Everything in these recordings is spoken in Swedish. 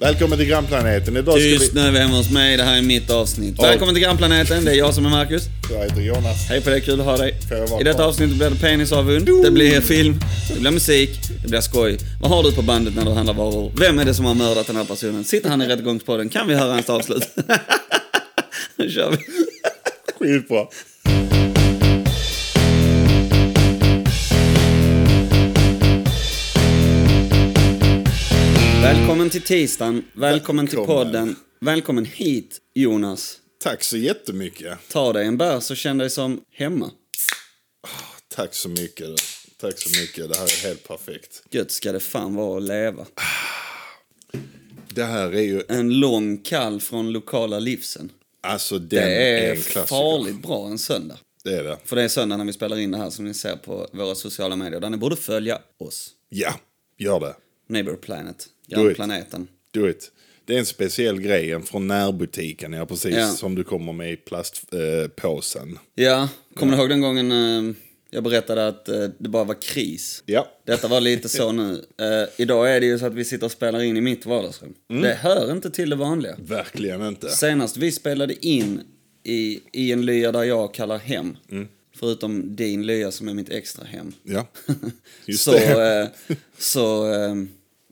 Välkommen till grannplaneten. Idag ska Tyst vi... nu, vi är hemma hos mig. Det här är mitt avsnitt. Ja. Välkommen till Grannplaneten. Det är jag som är Marcus. Jag heter Jonas. Hej på dig, kul att ha dig. Får jag vara I detta kvar? avsnitt blir det penisavund, det blir film, det blir musik, det blir skoj. Vad har du på bandet när du handlar varor? Vem är det som har mördat den här personen? Sitter han i rättegångspodden? Kan vi höra hans avslut? nu kör vi. Skitbra. Välkommen till tisdagen, välkommen till Välkommen. podden, välkommen hit Jonas. Tack så jättemycket. Ta dig en bärs och känn dig som hemma. Tack så mycket. du. Tack så mycket. Det här är helt perfekt. Gött ska det fan vara att leva. Det här är ju... En lång kall från lokala livsen. Alltså den Det är, är en klassiker. farligt bra en söndag. Det är det. För det är söndag när vi spelar in det här som ni ser på våra sociala medier. Där ni borde följa oss. Ja, gör det. Neighbor Planet. Do it. Grannplaneten. Do it. Det är en speciell grej. En från närbutiken. Ja, precis. Ja. Som du kommer med i plastpåsen. Eh, påsen. Ja, kommer ni ihåg den gången eh, jag berättade att eh, det bara var kris? ja. Detta var lite så nu. Eh, idag är det ju så att vi sitter och spelar in i mitt vardagsrum. Mm. Det hör inte till det vanliga. Verkligen inte. Senast vi spelade in i, i en lya där jag kallar hem. Mm. Förutom din lya som är mitt extra hem. Ja. Just så det. eh, så eh,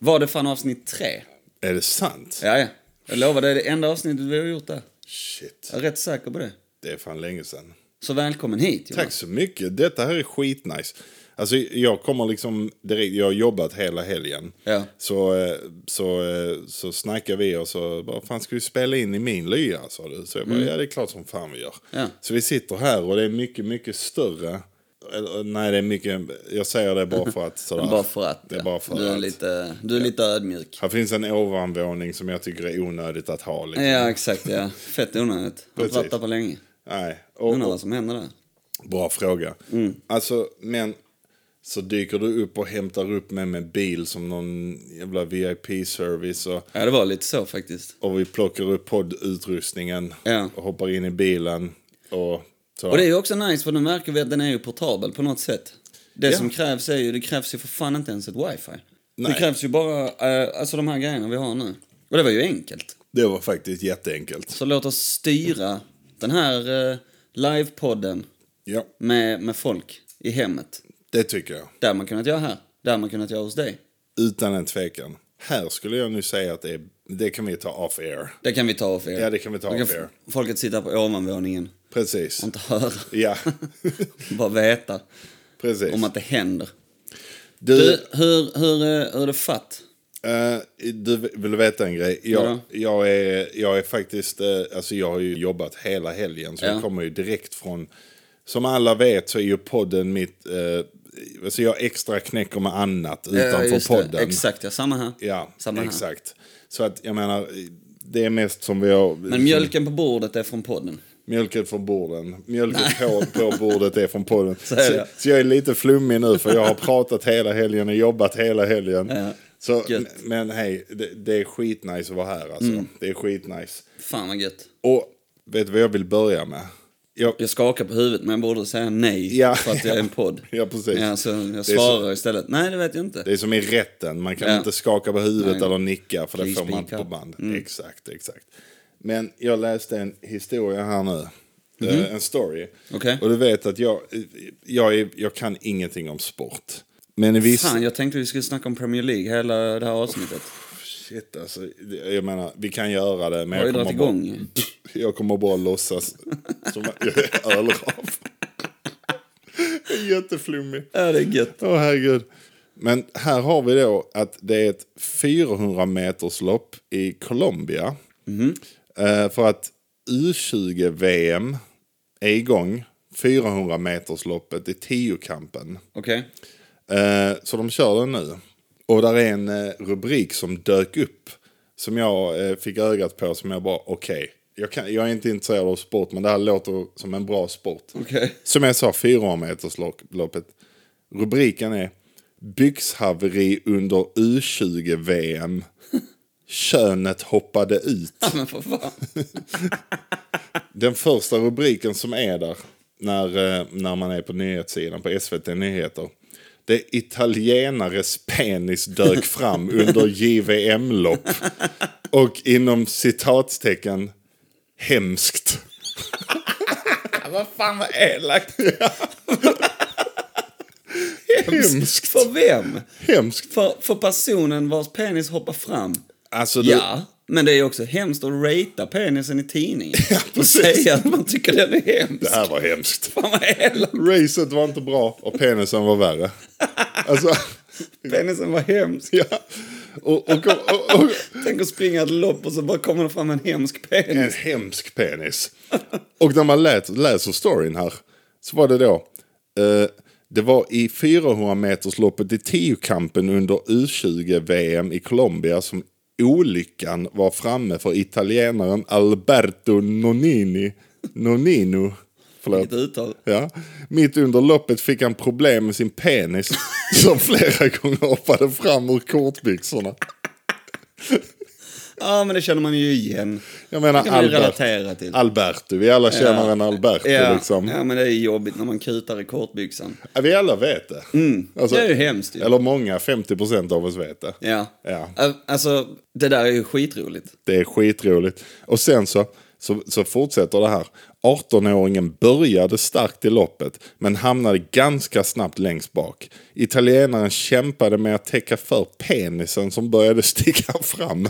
var det fan avsnitt tre. Är det sant? Ja, ja. Jag lovar, det är det enda avsnittet vi har gjort där. Shit. Jag är rätt säker på det. Det är fan länge sedan. Så välkommen hit, Jonas. Tack så mycket. Detta här är skitnice. Alltså, jag kommer liksom direkt, jag har jobbat hela helgen. Ja. Så, eh, så, eh, så snackar vi och så, vad fan ska vi spela in i min lya? Sa du. Så jag bara, ja det är klart som fan vi gör. Mm. Ja. Så vi sitter här och det är mycket, mycket större. Eller, Nej, det är mycket, jag säger det bara för att. Sådär. Bara för att. Det är ja. bara för du är att. lite, du är lite ödmjuk. Här finns en ovanvåning som jag tycker är onödigt att ha. Liksom. Ja, exakt. Ja. Fett onödigt. Har inte Precis. varit där på länge. Nej. Och, Undrar vad som händer där. Bra fråga. Mm. Alltså, men så dyker du upp och hämtar upp mig med bil som någon jävla VIP-service och, Ja, det var lite så faktiskt. och vi plockar upp poddutrustningen Ja. och hoppar in i bilen och så. Och det är ju också nice, för nu märker vi att den är ju portabel på något sätt. Det Ja. som krävs är ju, det krävs ju för fan inte ens ett wifi. Nej. Det krävs ju bara, eh, alltså de här grejerna vi har nu. Och det var ju enkelt. det var faktiskt jätteenkelt. Så låt oss styra den här eh, livepodden Ja, med, med folk i hemmet. det tycker jag. Det har man kunnat göra här. Det har man kunnat göra hos dig. Utan en tvekan. Här skulle jag nu säga att det, är, det kan vi ta off air. Det kan vi ta off er. Ja, det kan vi ta Då off f- air. Folket sitta på ovanvåningen Precis. och inte höra. Ja, Bara veta precis. om att det händer. Du, Du, hur, hur, eh, hur är det fatt? Eh, du vill veta en grej? Jag, Vadå? jag, är, jag är faktiskt, eh, alltså jag har ju jobbat hela helgen så Ja. jag kommer ju direkt från, som alla vet så är ju podden mitt, eh, alltså jag extra knäcker med annat Ja, utanför just det. podden. Exakt, ja. Samma här. Ja, Samma här. exakt. Så att jag menar, det är mest som vi har... Men mjölken på bordet är från podden. Mjölken från borden. Mjölken på, på bordet är från podden. Så, är så, det. jag är lite flummig nu för jag har pratat hela helgen och jobbat hela helgen. Ja, så, gött. Mm. m- men hej, det, det är skitnice att vara här alltså. Det är skitnice. Fan vad gött. Och vet du vad jag vill börja med? Jag, Jag skakar på huvudet men jag borde säga nej Ja, för att jag är en podd. ja, precis. Ja, så Det är jag så- svarar istället. Nej, det vet jag inte. det är som i rätten, man kan Ja. inte skaka på huvudet Nej. Mm. eller nicka för det Please får man speak på up. band. Exakt, exakt. Men jag läste en historia här nu. Eh, En story. Mhm. Okej. Och du vet att jag, jag, är, jag kan ingenting om sport. Men i vissa... Fan, jag tänkte vi skulle snacka om Premier League hela det här avsnittet. Shit, alltså, det- jag menar, vi kan göra det, men Har jag vi kommer, dragit bara, igång? jag kommer bara låtsas som att jag är ölrav. Jätteflummig. Ja, det är gött. Åh, herregud. Men här har vi då att det är ett 400 meters lopp i Colombia. Eh, för att U20-VM är igång. 400 meters loppet i tiokampen. Okej. Eh, så de kör den nu. Och där är en eh, rubrik som dök upp. Som jag eh, fick ögat på som jag bara, okej. Jag, kan- jag är inte intresserad av sport men det här låter som en bra sport. Okej. Som jag sa, 400 metersloppet. Rubriken är Byxhaveri under U20-VM. Könet hoppade ut. Ja, men för fan. Den första rubriken som är där när, eh, när man är på nyhetssidan på SVT Nyheter. det italienares penis dök fram under JVM-lopp. Och inom citatstecken hemskt. Vad fan vad elakt. Hemskt. För vem? Hemskt. För, för personen vars penis hoppar fram. Alltså, du, Ja, men det är ju också hemskt att ratea penisen i tidningen. Ja, och precis. säga att man tycker den är hemsk. Det här var hemskt. Fan vad elakt. Racet var inte bra och penisen var värre. Alltså, Penisen var hemsk. ja. Och, och, och, och, Tänk att springa ett lopp och så bara kommer det fram en hemsk en penis. hemsk penis. Och när man lät, läser storyn här så var det då. Eh, det var i 400 metersloppet i tiokampen under U20-VM i Colombia som olyckan var framme för italienaren Alberto Nonini. Nonino. Förlåt. Ett uttal. Ja. Mitt under loppet fick han problem med sin penis som flera gånger hoppade fram ur kortbyxorna. Ja, men det känner man ju igen. Jag menar Det kan man ju Albert, relatera till. Alberto, vi alla känner Ja. en Alberto Ja. liksom. ja, men det är jobbigt när man kutar i kortbyxan. Ja, Vi alla vet det. Alltså, Det är ju hemskt ju. Eller många, 50% av oss vet det. Ja. Ja. Al- Alltså, det där är ju skitroligt. Det är skitroligt. Och sen så, så, så fortsätter det här. 18-åringen började starkt i loppet, men hamnade ganska snabbt längst bak. Italienaren kämpade med att täcka för penisen som började sticka fram.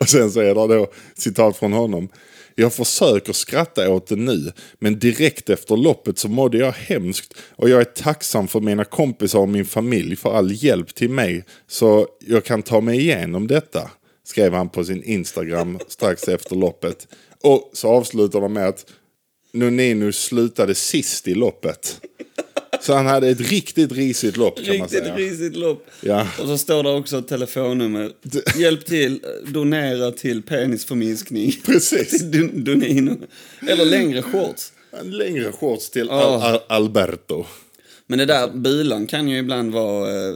Och sen så är det då citat från honom. Jag försöker skratta åt det nu, men direkt efter loppet så mådde jag hemskt och jag är tacksam för mina kompisar och min familj för all hjälp till mig så jag kan ta mig igenom detta. Skrev han på sin Instagram strax efter loppet. Och så avslutar de med att Nonino slutade sist i loppet. Så han hade ett riktigt risigt lopp kan man Riktigt säga. risigt lopp. Ja. Och så står det också ett telefonnummer. Hjälp till, eh, donera till penisförminskning. Precis. Till Dun- Dunino. Eller längre shorts. En längre shorts till Al- Al- Alberto. Men det där bilan kan ju ibland vara eh,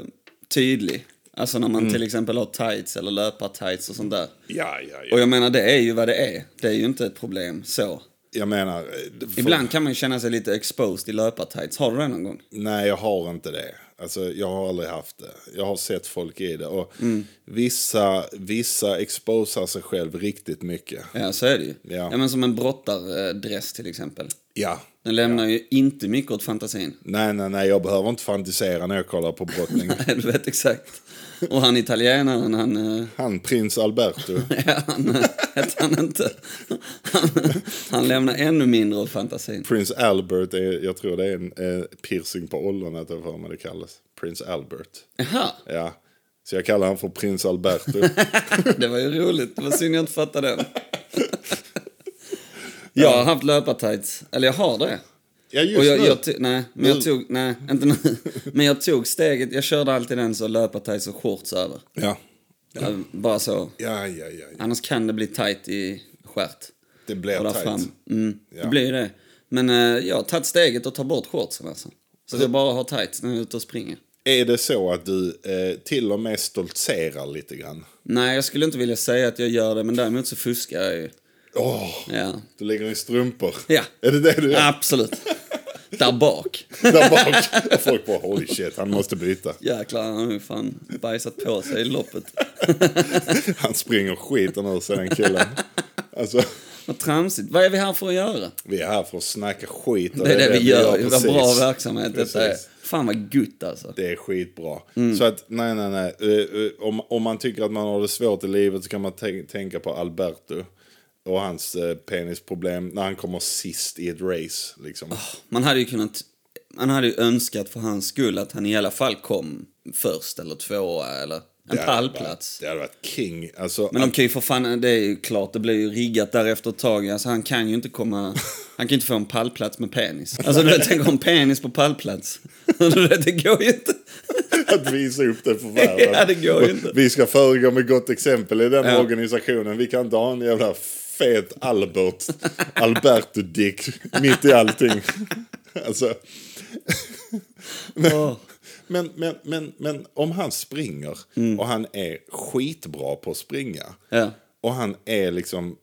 tydlig. Alltså när man till exempel har tights eller löpartights och sånt där. Ja, ja, ja. Och jag menar, det är ju vad det är. Det är ju inte ett problem så. Jag menar... eh, för- Ibland kan man ju känna sig lite exposed i löpartights. Har du det någon gång? Nej, jag har inte det. Alltså, jag har aldrig haft det. Jag har sett folk i det. Och Mm. vissa, vissa exposar sig själv riktigt mycket. Ja, så är det ju. Ja. men som en brottardress till exempel. Ja. Den lämnar ju inte mycket åt fantasin. Nej, nej, nej. Jag behöver inte fantisera när jag kollar på brottning. Nej, du vet exakt. Och han italienaren, han... eh, Han, prins Alberto. Ja, han eh, hette han inte. Han, han lämnar ännu mindre åt fantasin. prins Albert, är, jag tror det är en eh, piercing på ollonet, eller vad man det kallas. Prins Albert. Jaha, Ja. Så jag kallar han för prins Alberto. det var ju roligt. Det var synd jag inte fattade den. Jag har haft löpartights. Eller jag har det. ja, just Och jag, nu. jag, ty- nej, men jag Nu. tog, nej, inte nu. Men jag tog steget, jag körde alltid den så löpartights och shorts över. ja. Eh, Bara så. Ja, ja, ja, ja. Annars kan det bli tight i stjärt. Det blir och där tajt. fram. Mm, Ja. Det blir ju det. Men eh, jag har tagit steget och tar bort shortsen alltså. Så att jag bara har tights när jag är ute och springer. Är det så att du eh, till och med stoltserar lite grann? Nej, jag skulle inte vilja säga att jag gör det, men däremot så fuskar jag ju. Åh, Ja, du lägger i strumpor. Ja. Är det det du gör? absolut. Där bak. Där bak. Och folk bara, holy shit, han måste byta. Jäklar, han har ju fan bajsat på sig i loppet. Han springer skiten ur sig den killen. Alltså, Vad tramsigt. Vad är vi här för att göra? vi är här för att snacka skit. och Det är det vi gör. Vad precis. bra verksamhet detta är. Precis. Fan vad gutt alltså. Det är skitbra. Mm. Så att, nej, nej, nej. Eh, eh, om, om man tycker att man har det svårt i livet så kan man tän- tänka på Alberto. Och hans eh, penisproblem när han kommer sist i ett race. Liksom. Man hade ju kunnat... Man hade ju önskat för hans skull att han i alla fall kom först eller tvåa eller en Det hade pallplats. varit- Det hade varit king. Alltså, Men de kan ju för fan, det är ju klart, det blir ju riggat därefter ett tag. Alltså han kan ju inte komma, han kan inte få en pallplats med penis. Alltså du vet, tänk om penis på pallplats. Du vet, det går ju inte. att visa upp det för världen. Ja, det går ju inte. Vi ska föregå med gott exempel i den Ja. organisationen. Vi kan inte ha en jävla fet Albert, Alberto Dick, mitt i allting. Alltså, Åh. men, men, men, men om han springer och han är skitbra på att springa Mm. Ja. och han är liksom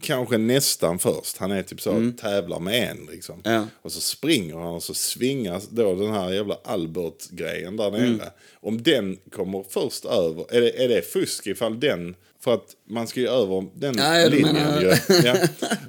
kanske nästan först. Han är typ så, tävlar med en liksom. Mm. Ja. Och så springer han och så svingar då den här jävla Albert-grejen där Mm. nere. Om den kommer först över, är det, är det fusk ifall den... För att man ska ju över den Ja, ja, du linjen menar- ju. Ja.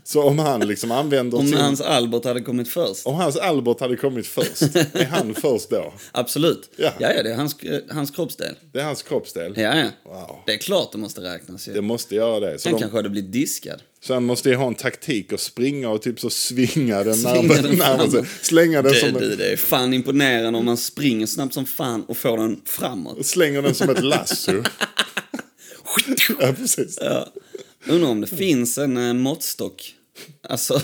Så om han liksom använder Om sin... hans Albert hade kommit först. Om hans Albert hade kommit först, är han först då? Absolut. Ja. ja, det är hans, eh, hans kroppsdel. Det är hans kroppsdel. Ja, ja. Wow. Det är klart det måste räknas ju. Det måste göra det. Så, Sen de, kanske hade blivit diskad. så han måste ju ha en taktik och springa och typ så svinga den Svinga närmare. den närmare sig. framåt. Slänga den Det, som det, en, det är fan imponerande om man springer snabbt som fan och får den framåt. slänger den som ett lasso. ja, precis. Undrar om det finns en eh, måttstock. Alltså,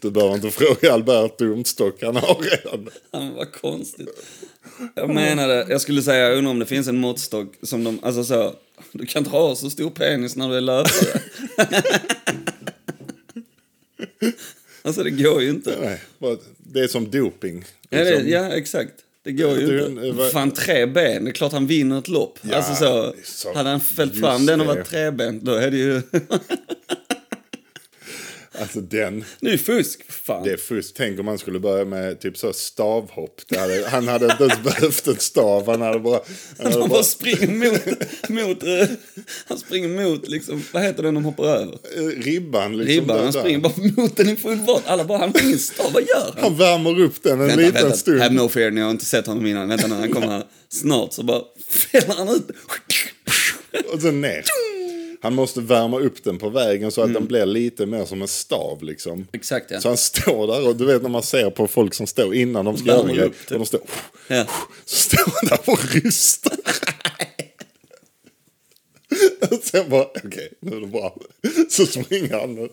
Du behöver inte fråga Albert Domstock, han har redan. han var konstigt. Jag menade, jag skulle säga, jag undrar om det finns en måttstock som de, alltså så, du kan inte ha så stor penis när du är löpare. alltså det går ju inte. Nej, bara- det är som doping. Ja, det, Liksom. ja exakt. Det går Det ju är inte. en- eh, vad- Fan, tre ben. Det är klart han vinner ett lopp. Ja, alltså så, det är så- hade han fällt just fram den och det. varit trebent, då är det ju... Alltså den, nu är fusk, fan. det är fusk. Tänk om man skulle börja med typ så stavhopp. Det hade, han hade inte ens behövt en stav, han hade bara... Han hade Han bara bara springer mot, mot, eh, han springer mot liksom, vad heter den de hoppar över? eh, ribban liksom. Ribban, där- han där. springer bara mot den i full fart. Alla bara, han har ingen stav, vad gör han? Han värmer upp den en liten vänta, stund. have no fear, ni har inte sett honom innan. Vänta nu, han kommer här snart så bara fäller han ut. Och sen ner. Han måste värma upp den på vägen så att den blir lite mer som en stav liksom. Mm. Exakt ja. Så han står där och du vet när man ser på folk som står innan de ska Värmer göra det. upp typ. det. Och de står... ja. Så står han där och rystar. Och sen bara, okej, nu är det bra. Så springer han.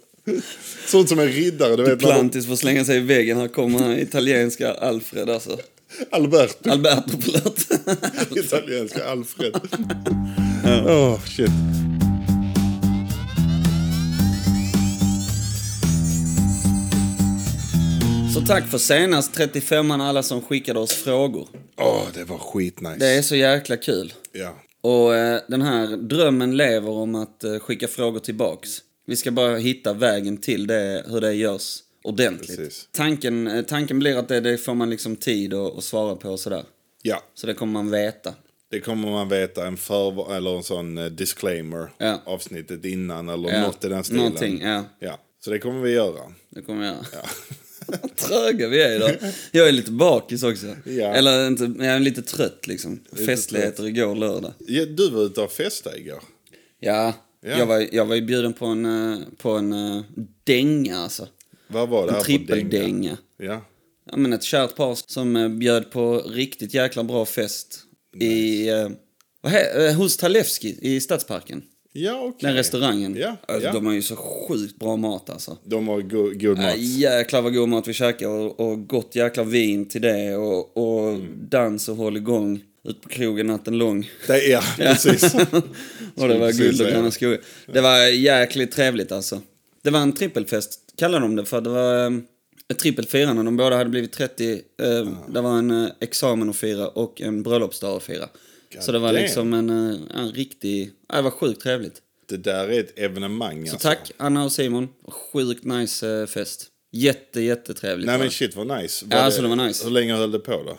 Såg ut som en riddare, du vet. när de- Plantis får slänga sig i väggen, här kommer han, italienska Alfred alltså. Alberto, Alberto, förlåt. italienska Alfred. Åh, shit. Så tack för senast 35 an alla som skickade oss frågor. Åh, det var skitnice. Det är så jäkla kul. Ja. Och eh, den här drömmen lever om att eh, skicka frågor tillbaks. Vi ska bara hitta vägen till det, hur det görs ordentligt. Precis. Tanken, eh, tanken blir att det, det får man liksom tid att, att svara på och sådär. ja, Så det kommer man veta. Det kommer man veta, en förvar- eller en sån eh, disclaimer Ja. avsnittet innan eller Ja, något i den stilen. någonting, ja. Så det kommer vi göra. Det kommer jag. Vad tröga vi är idag. Jag är lite bakis också. Ja. Eller inte, jag är lite trött liksom. Festligheter igår lördag. Ja, Du var ute och festade igår. Ja, Ja. Jag, var, jag var ju bjuden på en, eh, på en eh, dänga alltså. Vad var det En här för dänga? trippeldänga. Ja. Ja, men ett kärt par som eh, bjöd på riktigt jäkla bra fest i, eh, vad he, eh, hos Talevski i Stadsparken. Ja, okej. Den restaurangen. Ja, Alltså, ja. De har ju så sjukt bra mat alltså. De har go- god mat. Ja, jäklar vad god mat vi käkade och, och gott jäkla vin till det och, och Mm. dans och hålligång ut på krogen natten lång. Det, ja, precis. och det var Precis, guld och ja. gröna skogar. Det var jäkligt trevligt alltså. Det var en trippelfest, kallar de det, för det var eh, ett trippelfirande. De båda hade blivit 30. Eh, Det var en eh, examen att fira och en bröllopsdag att fira. Så det var damn. liksom en, eh, en riktig... ja, Det var sjukt trevligt. det där är ett evenemang. alltså. Så Tack Anna och Simon. Sjukt nice eh, fest. Jätte, jättetrevligt. Nej var men det. shit vad nice. Ja, alltså, det var nice. Hur länge höll det på då?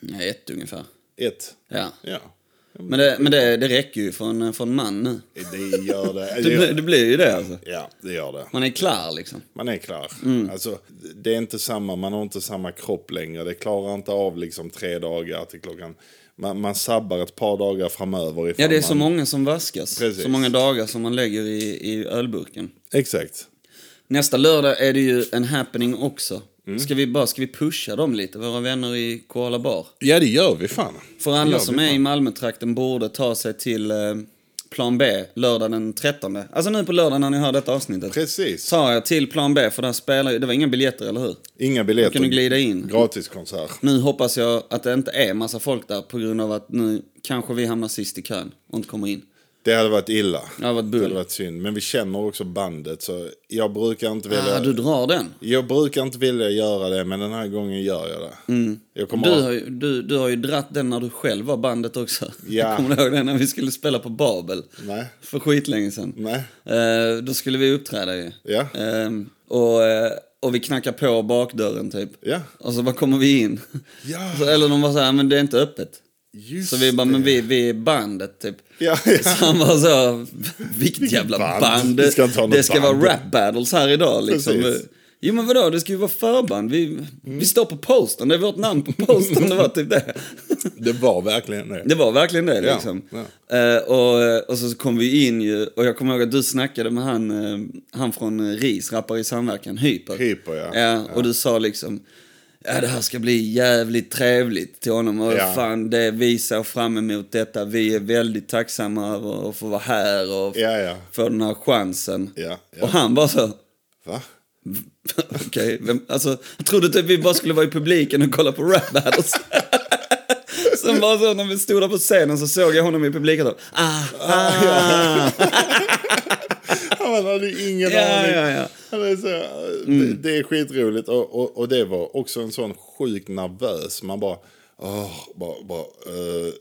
Ja, ett ungefär. Ett? Ja. Ja. Men, det, men det, det räcker ju för en, eh, för en man nu. Det gör det. det, Det, blir- gör det det. blir ju det alltså. Ja, det gör det. Man är klar liksom. Man är klar. Mm. Alltså, det är inte samma, man har inte samma kropp längre. Det klarar inte av liksom tre dagar till klockan. Man, man sabbar ett par dagar framöver. ifall Ja, det är man... så många som vaskas. Precis. Så många dagar som man lägger i, i ölburken. Exakt. Nästa lördag är det ju en happening också. Mm. Ska vi bara ska vi pusha dem lite, våra vänner i Koala Bar? Ja, det gör vi fan. För alla som är i Malmötrakten borde ta sig till eh, Plan B lördag den 13. Alltså nu på lördag när ni hör detta avsnittet. Precis. Ta er till Plan B, för där spelar ju... Det var inga biljetter, eller hur? Inga biljetter. Kan du glida in? Gratiskonsert. Nu hoppas jag att det inte är massa folk där på grund av att nu kanske vi hamnar sist i kön och inte kommer in. Det hade varit illa. Det hade varit Det hade bull. varit synd. Men vi känner också bandet så jag brukar inte vilja... Ah, du drar den. Jag brukar inte vilja göra det men den här gången gör jag det. Jag kommer Mm. Du har, ju, du, du har ju dratt den när du själv var bandet också. Ja. Kommer du ihåg det? När vi skulle spela på Babel. Nej. För skitlänge sedan. Nej. Eh, då skulle vi uppträda ju. Ja. Eh, och, eh, och vi knackar på bakdörren typ. Ja. Och så bara kommer vi in. Ja. Så, eller de var så här, men det är inte öppet. Just Så vi bara, det. men vi, vi är bandet typ. Ja, ja. Så han bara så, vilket jävla band. band. Vi ska inte ha något det ska band. vara rap battles här idag liksom. Precis. Mm. Jo men vadå, det ska ju vara förband. Vi, vi står på posten, det är vårt namn på posten. Det var typ det. Det var verkligen det. Det var verkligen det Ja, liksom. ja. Eh, och, och så kom vi in ju, och jag kommer ihåg att du snackade med han, eh, han från eh, RIS, Rappare i samverkan, Hyper. Hyper, ja. Och du sa liksom, ja det här ska bli jävligt trevligt till honom. Och Ja. fan, det vi ser fram emot detta. Vi är väldigt tacksamma över att få vara här och Ja, ja. få den här chansen. Ja, ja. Och han bara så, Va? Okej, vem- alltså, jag trodde typ vi bara skulle vara i publiken och kolla på rap battles. Sen bara så när vi stod där på scenen så såg jag honom i publiken och ah, ah, Han hade ju ingen Ja, aning. ja, Mm. ja. Han är så, det, det är skitroligt. Och, och, och det var också en sån sjukt nervös. Man bara, åh, bara, bara eh,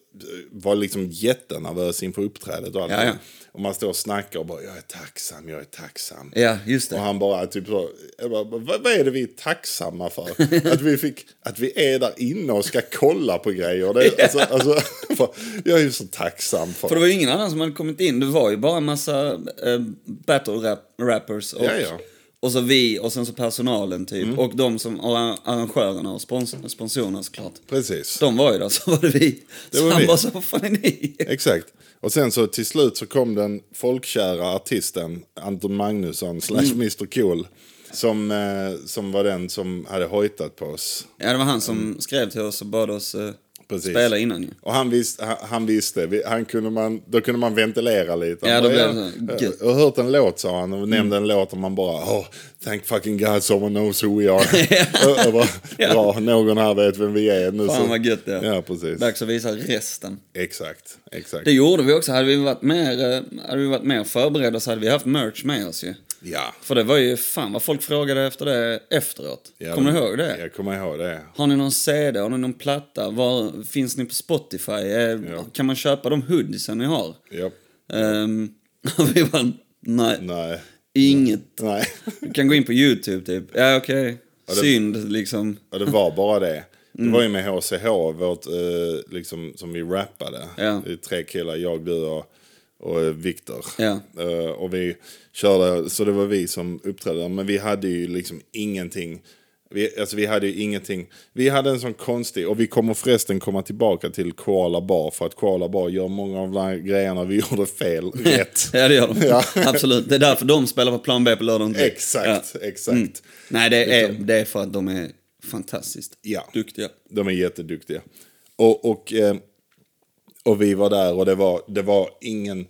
var liksom jättenervös inför uppträdet och allt. Ja, ja. Och man står och snackar och bara, jag är tacksam, jag är tacksam. Ja, just Och det. han bara typ så, jag bara, vad, vad är det vi är tacksamma för? Att vi, fick, att vi är där inne och ska kolla på grejer. Det, är- alltså, alltså, jag är ju så tacksam för För det var ju ingen annan som hade kommit in. Det var ju bara en massa eh, battle rap- rappers och, Ja, ja. Mm. och så vi och sen så personalen typ. Och de som, och arrangörerna och spons- sponsorerna såklart. Precis. De var ju där, så var det vi. Det så var han vi. bara så, vad fan är ni? Exakt. Och sen så till slut så kom den folkkära artisten Anton Magnusson slash Mm. Mr Cool. Som, eh, som var den som hade hojtat på oss. Ja, det var han som skrev till oss och bad oss eh, Mm. Precis. spela innan ju. Och han, visst, han, han visste, Vi- han kunde man, då kunde man ventilera lite. Han Ja, då bara, blev det så, jag, gött." Mm. jag har hört en låt sa han och nämnde en låt och man bara oh, thank fucking God someone knows who we are. Och jag bara, Bra, någon här vet vem vi är. Nu Fan vad gött det ja. är. ja, precis. Dags att visa resten. Exakt, exakt. Det gjorde vi också. Hade vi varit mer, eh, hade vi varit mer förberedda så hade vi haft merch med oss ju. Ja. För det var ju fan vad folk frågade efter det efteråt. Ja, Kommer du det- ihåg det? Jag kommer ihåg det. Har ni någon CD? Har ni någon platta? Var, finns ni på Spotify? Eh, Ja. Kan man köpa de hoodiesen ni har? Japp. Ehm, vi bara, nej, Nej. inget. Nej, Du kan gå in på YouTube typ. Ja, okej. det- Synd liksom. och det var bara det. Det var ju med HCH, vårt, eh, liksom, som vi rappade. Ja. Det är tre killar, jag, du och, och eh, Viktor. Ja. Eh, och vi körde, så det var vi som uppträdde. där. Men vi hade ju liksom ingenting. Vi, alltså vi hade ju ingenting. Vi hade en sån konstig, och vi kommer förresten komma tillbaka till Koala Bar. För att Koala Bar gör många av de här grejerna vi gjorde fel rätt. Ja, det gör de. Ja. Absolut. Det är därför de spelar på plan B på lördagen. typ. Exakt, Mm. exakt. Nej, det är, det är för att de är fantastiskt Liksom. Ja. duktiga. De är jätteduktiga. Och, och, eh, och vi var där och det var, det var ingen,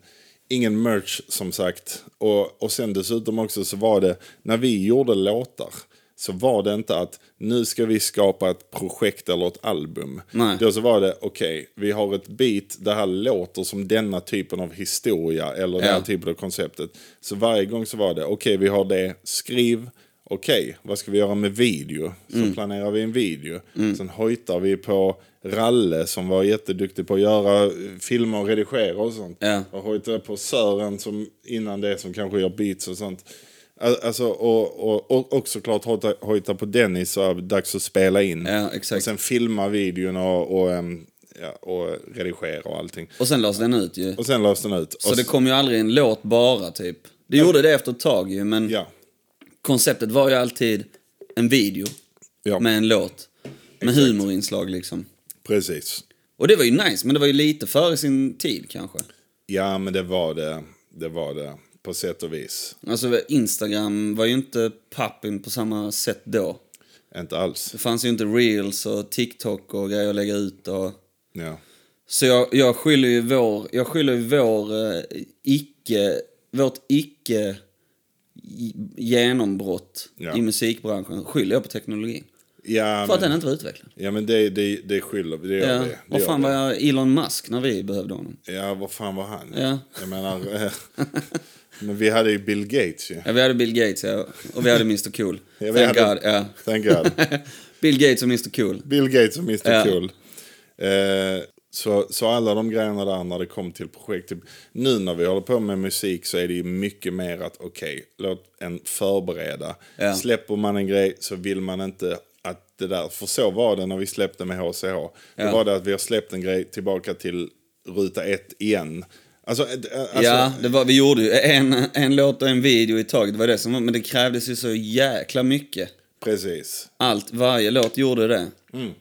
ingen merch som sagt. Och, och sen dessutom också så var det, när vi gjorde låtar så var det inte att nu ska vi skapa ett projekt eller ett album. Nej. Då så var det, okej, vi har ett beat, det här låter som denna typen av historia eller den här Ja. typen typ av konceptet. Så varje gång så var det, okej vi har det, skriv, okej vad ska vi göra med video? Så Mm. planerar vi en video. Sen hojtar vi på Ralle som var jätteduktig på att göra eh, filmer och redigera och sånt. Ja. Och hojtar på Sören som innan det som kanske gör beats och sånt. Al- Alltså, och, och, och, och såklart hojta, hojta på Dennis och dags att spela in. Ja, exakt. Och sen filma videon och, och, ehm, ja, och redigera och allting. Och sen lades den ut ju. Och sen lades den ut. Så och det s- kom ju aldrig en låt bara, typ. Det gjorde det efter ett tag ju, men Ja, konceptet var ju alltid en video Ja. med en låt. Med humorinslag liksom. precis. Och det var ju nice, men det var ju lite före sin tid kanske. Ja, men det var det. Det var det. På sätt och vis. Alltså Instagram var ju inte poppin på samma sätt då. Inte alls. Det fanns ju inte reels och TikTok och grejer att lägga ut och... Ja. Så jag, jag skyller ju vår, jag skyller ju vår eh, icke, vårt icke i- genombrott Ja. i musikbranschen skyller jag på teknologin. Ja, För att men, den inte var utvecklad. ja, men det, det, det skyller vi. Det gör Ja. vi. Det Vad gör fan vi. var jag Elon Musk när vi behövde honom? Ja, vad fan var han? Ja. Jag menar... eh, men vi hade ju Bill Gates ju. Ja, vi hade Bill Gates ja. och vi hade Mr Cool. Ja, vi Thank hade- God. Ja. Thank God. Bill Gates och Mr Cool. Bill Gates och Mr Ja. Cool. Eh, så, så alla de grejerna där när det kom till projekt. Typ, nu när vi håller på med musik så är det ju mycket mer att okej, låt en förbereda. Ja. Släpper man en grej så vill man inte att det där, för så var det när vi släppte med HCH. Det Ja. var det att vi har släppt en grej tillbaka till ruta ett igen. Alltså, eh, alltså ja, det var, vi gjorde ju en, en låt och en video i taget. Det var det som var, men det krävdes ju så jäkla mycket. precis. Allt, varje låt gjorde det. Mm.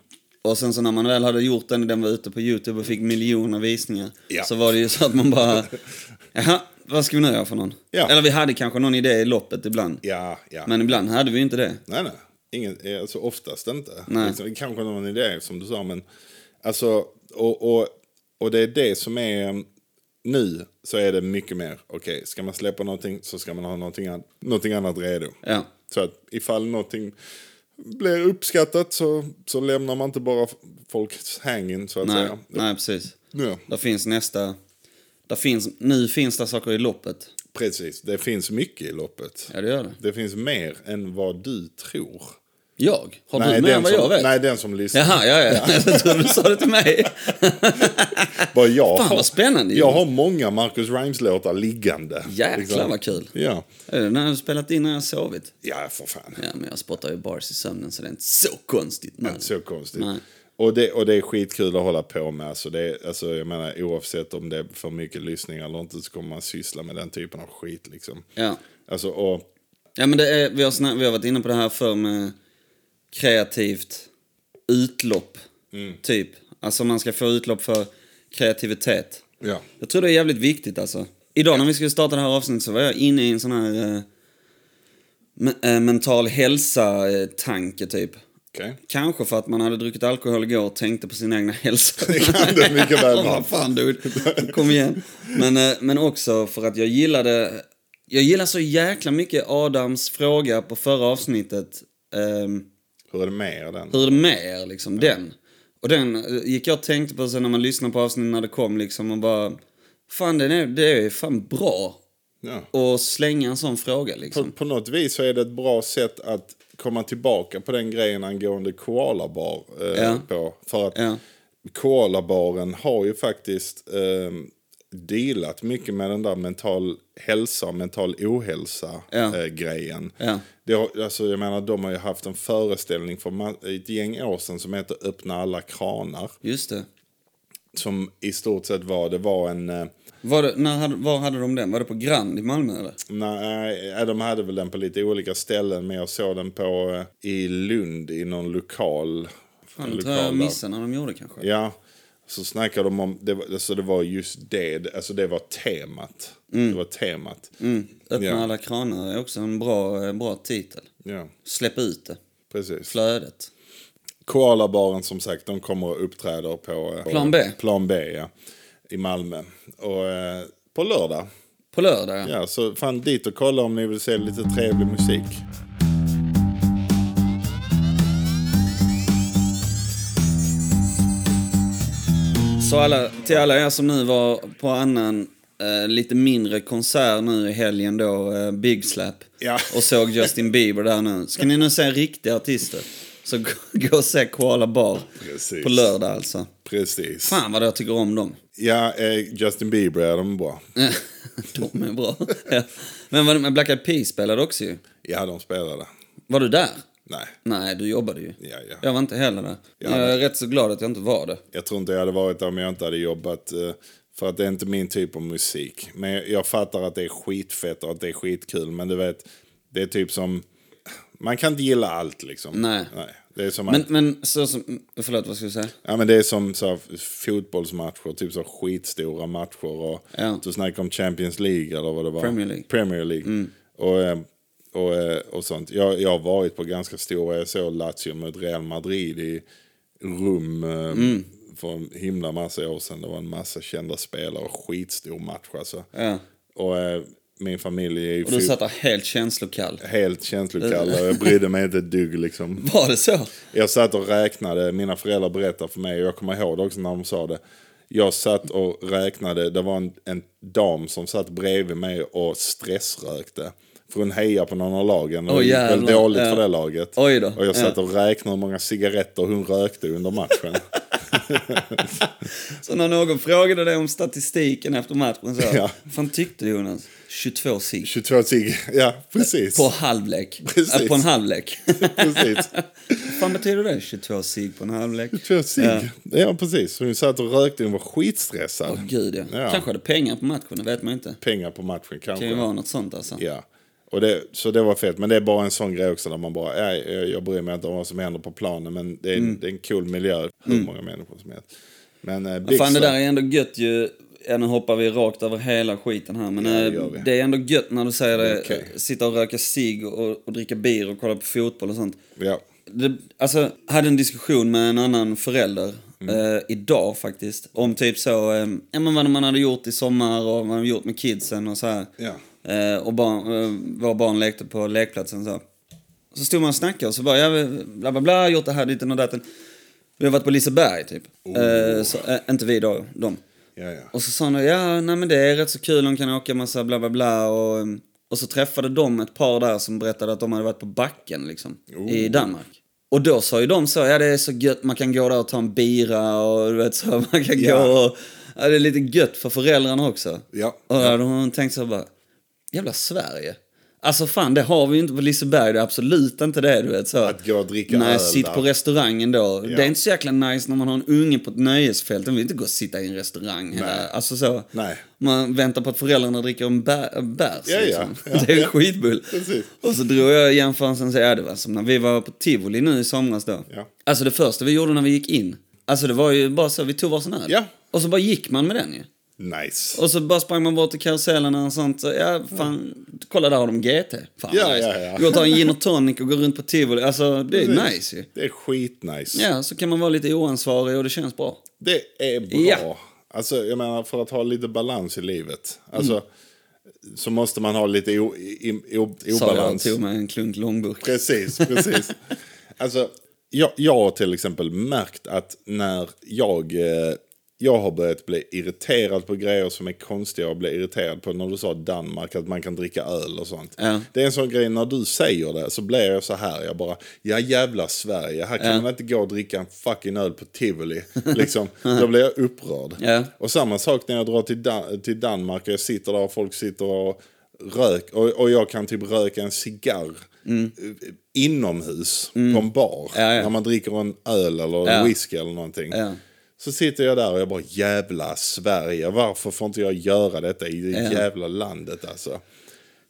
Och sen så när man väl hade gjort den och den var ute på YouTube och fick miljoner visningar. Ja. Så var det ju så att man bara, jaha, vad ska vi nu göra för någon? Ja. Eller vi hade kanske någon idé i loppet ibland. Ja, ja. Men ibland hade vi ju inte det. Nej, nej. Ingen, alltså oftast inte. Nej. Liksom, kanske någon idé som du sa, men alltså, och, och, och det är det som är um, nu så är det mycket mer, okej, ska man släppa någonting så ska man ha någonting, an- någonting annat redo. Ja. Så att ifall någonting blir uppskattat så, så lämnar man inte bara f- folks hanging så att Nej, säga. nej, precis. Ja, Där finns nästa... Där finns, nu finns det saker i loppet. precis, det finns mycket i loppet. Ja, det gör det. Det finns mer än vad du tror. Jag? Har du mer den än vad som, jag vet? nej, den som lyssnar. Jaha, ja, ja. Jag trodde du sa det till mig. Vad jag Fan, har. vad spännande, Jag Jonas. har många Marcus Rimes-låtar liggande. Jäklar, Liksom. vad kul. Ja. Är det när jag har spelat in när jag har sovit? ja, för fan. Ja, men jag spottar ju bars i sömnen så det är inte så konstigt. Man. Inte så konstigt. Nej. Och det, och det är skitkul att hålla på med. Alltså det, är- alltså jag menar, oavsett om det är för mycket lyssningar eller inte så kommer man syssla med den typen av skit. Liksom. Ja. Alltså, och, Ja, men det är, vi, har snä, vi har varit inne på det här förr med kreativt utlopp, Mm. typ. Alltså man ska få utlopp för kreativitet. ja. Jag tror det är jävligt viktigt alltså. Idag när vi skulle starta det här avsnittet så var jag inne i en sån här eh, me- eh, mental hälsa-tanke typ. Okej. Kanske för att man hade druckit alkohol igår och tänkte på sin egna hälsa. Det kan det mycket väl vara. Vad fan dude, kom igen. Men, eh, men också för att jag gillade, jag gillar så jäkla mycket Adams fråga på förra avsnittet. ehm, Hur är det med er den? hur är det med er, liksom, den. Och den eh, gick jag och tänkte på sen när man lyssnade på avsnittet när det kom liksom och bara, fan den är, det är fan bra Ja. att slänga en sån fråga liksom. På, på något vis så är det ett bra sätt att komma tillbaka på den grejen angående koalabar. Eh, Ja. på, för att Ja. koalabaren har ju faktiskt eh, dealat mycket med den där mental hälsa och mental ohälsa Ja. eh, grejen. Ja. Det har, alltså, jag menar, de har ju haft en föreställning för ma- ett gäng år sedan som heter Öppna alla kranar. Just det. Som i stort sett var, det var en... Eh, Var, det, när, hade- var hade de den? Var det på Grand i Malmö eller? Nej, eh, de hade väl den på lite olika ställen, men jag såg den på eh, i Lund i någon lokal. Fan, en det lokal tror jag där. missade när de gjorde kanske. Ja, så snackade de om, det var, alltså det var just det, det- alltså det var temat. Mm. Det var temat. Öppna Ja. alla kranar är också en bra, eh, bra titel. Ja, Släpp ut det. precis. Flödet. Koalabaren som sagt, de kommer och uppträder på eh, Plan B. Plan B ja, i Malmö. Och eh, på lördag. På lördag ja. Ja, så fan dit och kolla om ni vill se lite trevlig musik. Så alla, till alla er som nu var på annan eh, lite mindre konsert nu i helgen då, eh, Big Slap. Ja. Och såg Justin Bieber där nu. Ska ni nu se riktiga artister så gå, gå och se Koala Bar. Precis. På lördag alltså. Precis. Fan vad jag tycker om dem. Ja, eh, Justin Bieber är de bra. de är bra. Ja. Men var det, men Black Eyed Peas spelade också ju. Ja, de spelade. Var du där? Nej, Nej, du jobbade ju. Ja, ja. Jag var inte heller där. Ja, jag är men- rätt så glad att jag inte var det. jag tror inte jag hade varit där om jag inte hade jobbat. eh, För att det är inte min typ av musik. Men jag- jag fattar att det är skitfett och att det är skitkul. Men du vet, det är typ som... Man kan inte gilla allt liksom. Nej. Det är som, Men, att, men så som... Förlåt, vad ska du säga? ja, men det är som så här, fotbollsmatcher, typ så här skitstora matcher. Och, Ja. Du snackade om Champions League eller vad det var. Premier League. Mm. Premier League. Och, eh, och, eh, och sånt. Jag, jag har varit på ganska stora, jag såg Lazio mot Real Madrid i rum eh, Mm. för en himla massa år sedan. Det var en massa kända spelare och skitstor match alltså. Ja. Och eh, min familj är ju Och du fo- satt där helt känslokall. helt känslokall och jag brydde mig inte ett dugg liksom. Var det så? Jag satt och räknade, mina föräldrar berättade för mig, och jag kommer ihåg det också när de sa det. Jag satt och räknade, det var en, en dam som satt bredvid mig och stressrökte. För hon hejar på någon av lagen, och Åh, det gick väl jävlar. dåligt för Ja. det laget. Oj då. Och jag satt Ja. och räknade hur många cigaretter hon rökte under matchen. Så när någon frågade dig om statistiken efter matchen så, Ja. fan tyckte du Jonas? 22 cigg. 22 cigg, ja precis. På halvlek. Precis. Äh, på en halvlek. precis. Vad fan betyder det? 22 cigg på en halvlek. 22 cigg, ja. precis. Hon satt och rökte, hon var skitstressad. Gud ja. Ja. Kanske hade pengar på matchen, det vet man inte. Pengar på matchen Det kanske. kan ju vara något sånt alltså. Ja. Och det, så det var fett, men det är bara en sån grej också där man bara, nej, jag, jag bryr mig inte om vad som händer på planen, men det är, Mm. det är en cool miljö, hur många människor som helst. Men eh, Fan det Bixler- där är ändå gött ju. Ja, nu hoppar vi rakt över hela skiten här. Men Ja, det eh, gör vi. det är ändå gött när du säger det. eh, Okej. Sitta och röka cigg och, och dricka bir och kolla på fotboll och sånt. ja. Det, alltså, hade en diskussion med en annan förälder eh, idag faktiskt. Om typ så, eh, ja, men vad man hade gjort i sommar och vad man hade gjort med kidsen och så här. Ja. Eh, och barn, eh, våra barn lekte på lekplatsen så. Så stod man och snackade och så bara, ja, bla bla bla, gjort det här, ditten och datten. Vi har varit på Liseberg typ. Eh, så, eh, inte vi då, de. Ja, ja. Och så sa han ja, nej men det är rätt så kul, de kan åka massa bla bla bla. Och, ehm, och så träffade de ett par där som berättade att de hade varit på backen liksom, i Danmark. Och då sa ju de så, ja det är så gött, man kan gå där och ta en bira och du vet så, man kan Ja. gå och... Ja, det är lite gött för föräldrarna också. Ja. Och då hade hon tänkt så bara, jävla Sverige. Alltså fan, det har vi ju inte på Liseberg, det är absolut inte det du vet så. Att gå och dricka Nej, öl sitt där. på restaurangen då. Ja. Det är inte så jäkla nice när man har en unge på ett nöjesfält. Den vill inte gå och sitta i en restaurang. Hela. Alltså så. Nej. Man väntar på att föräldrarna dricker en bär, bärs. Ja, ja. liksom. Ja, det är ja. skitbull. Precis. Och så drog jag jämförelsen så ja, det var som när vi var på tivoli nu i somras då. Ja. Alltså det första vi gjorde när vi gick in. Alltså det var ju bara så, vi tog varsin öl. Ja. Och så bara gick man med den ju. Nice. Och så bara sprang man bort till karusellerna och sånt. Så, ja, fan, kolla där har de GT. Fan, Ja, nice. ja, ja. Gå och ta en gin och tonic och gå runt på tivoli. Alltså, det är Precis. nice ju. Det är skitnice. Ja, så kan man vara lite oansvarig och det känns bra. Det är bra. Ja. Alltså, jag menar, för att ha lite balans i livet. Alltså, Mm. Så måste man ha lite o, i, o, Sa jag och obalans. tog med en klunk långburk. Precis, precis. alltså, jag, jag har till exempel märkt att när jag, eh, jag har börjat bli irriterad på grejer som är konstiga att bli irriterad på. När du sa Danmark, att man kan dricka öl och sånt. Ja. Det är en sån grej, när du säger det så blir jag så här. Jag bara, ja jävla Sverige, här kan man inte gå och dricka en fucking öl på tivoli. liksom, då blir jag upprörd. Ja. Och samma sak när jag drar till, Dan- till Danmark och jag sitter där och folk sitter och rök och, och jag kan typ röka en cigarr eh, inomhus på en bar. Mm. Ja, ja. När man dricker en öl eller Ja. en whisky eller någonting. Ja. Så sitter jag där och jag bara jävla Sverige, varför får inte jag göra detta i det jävla landet alltså.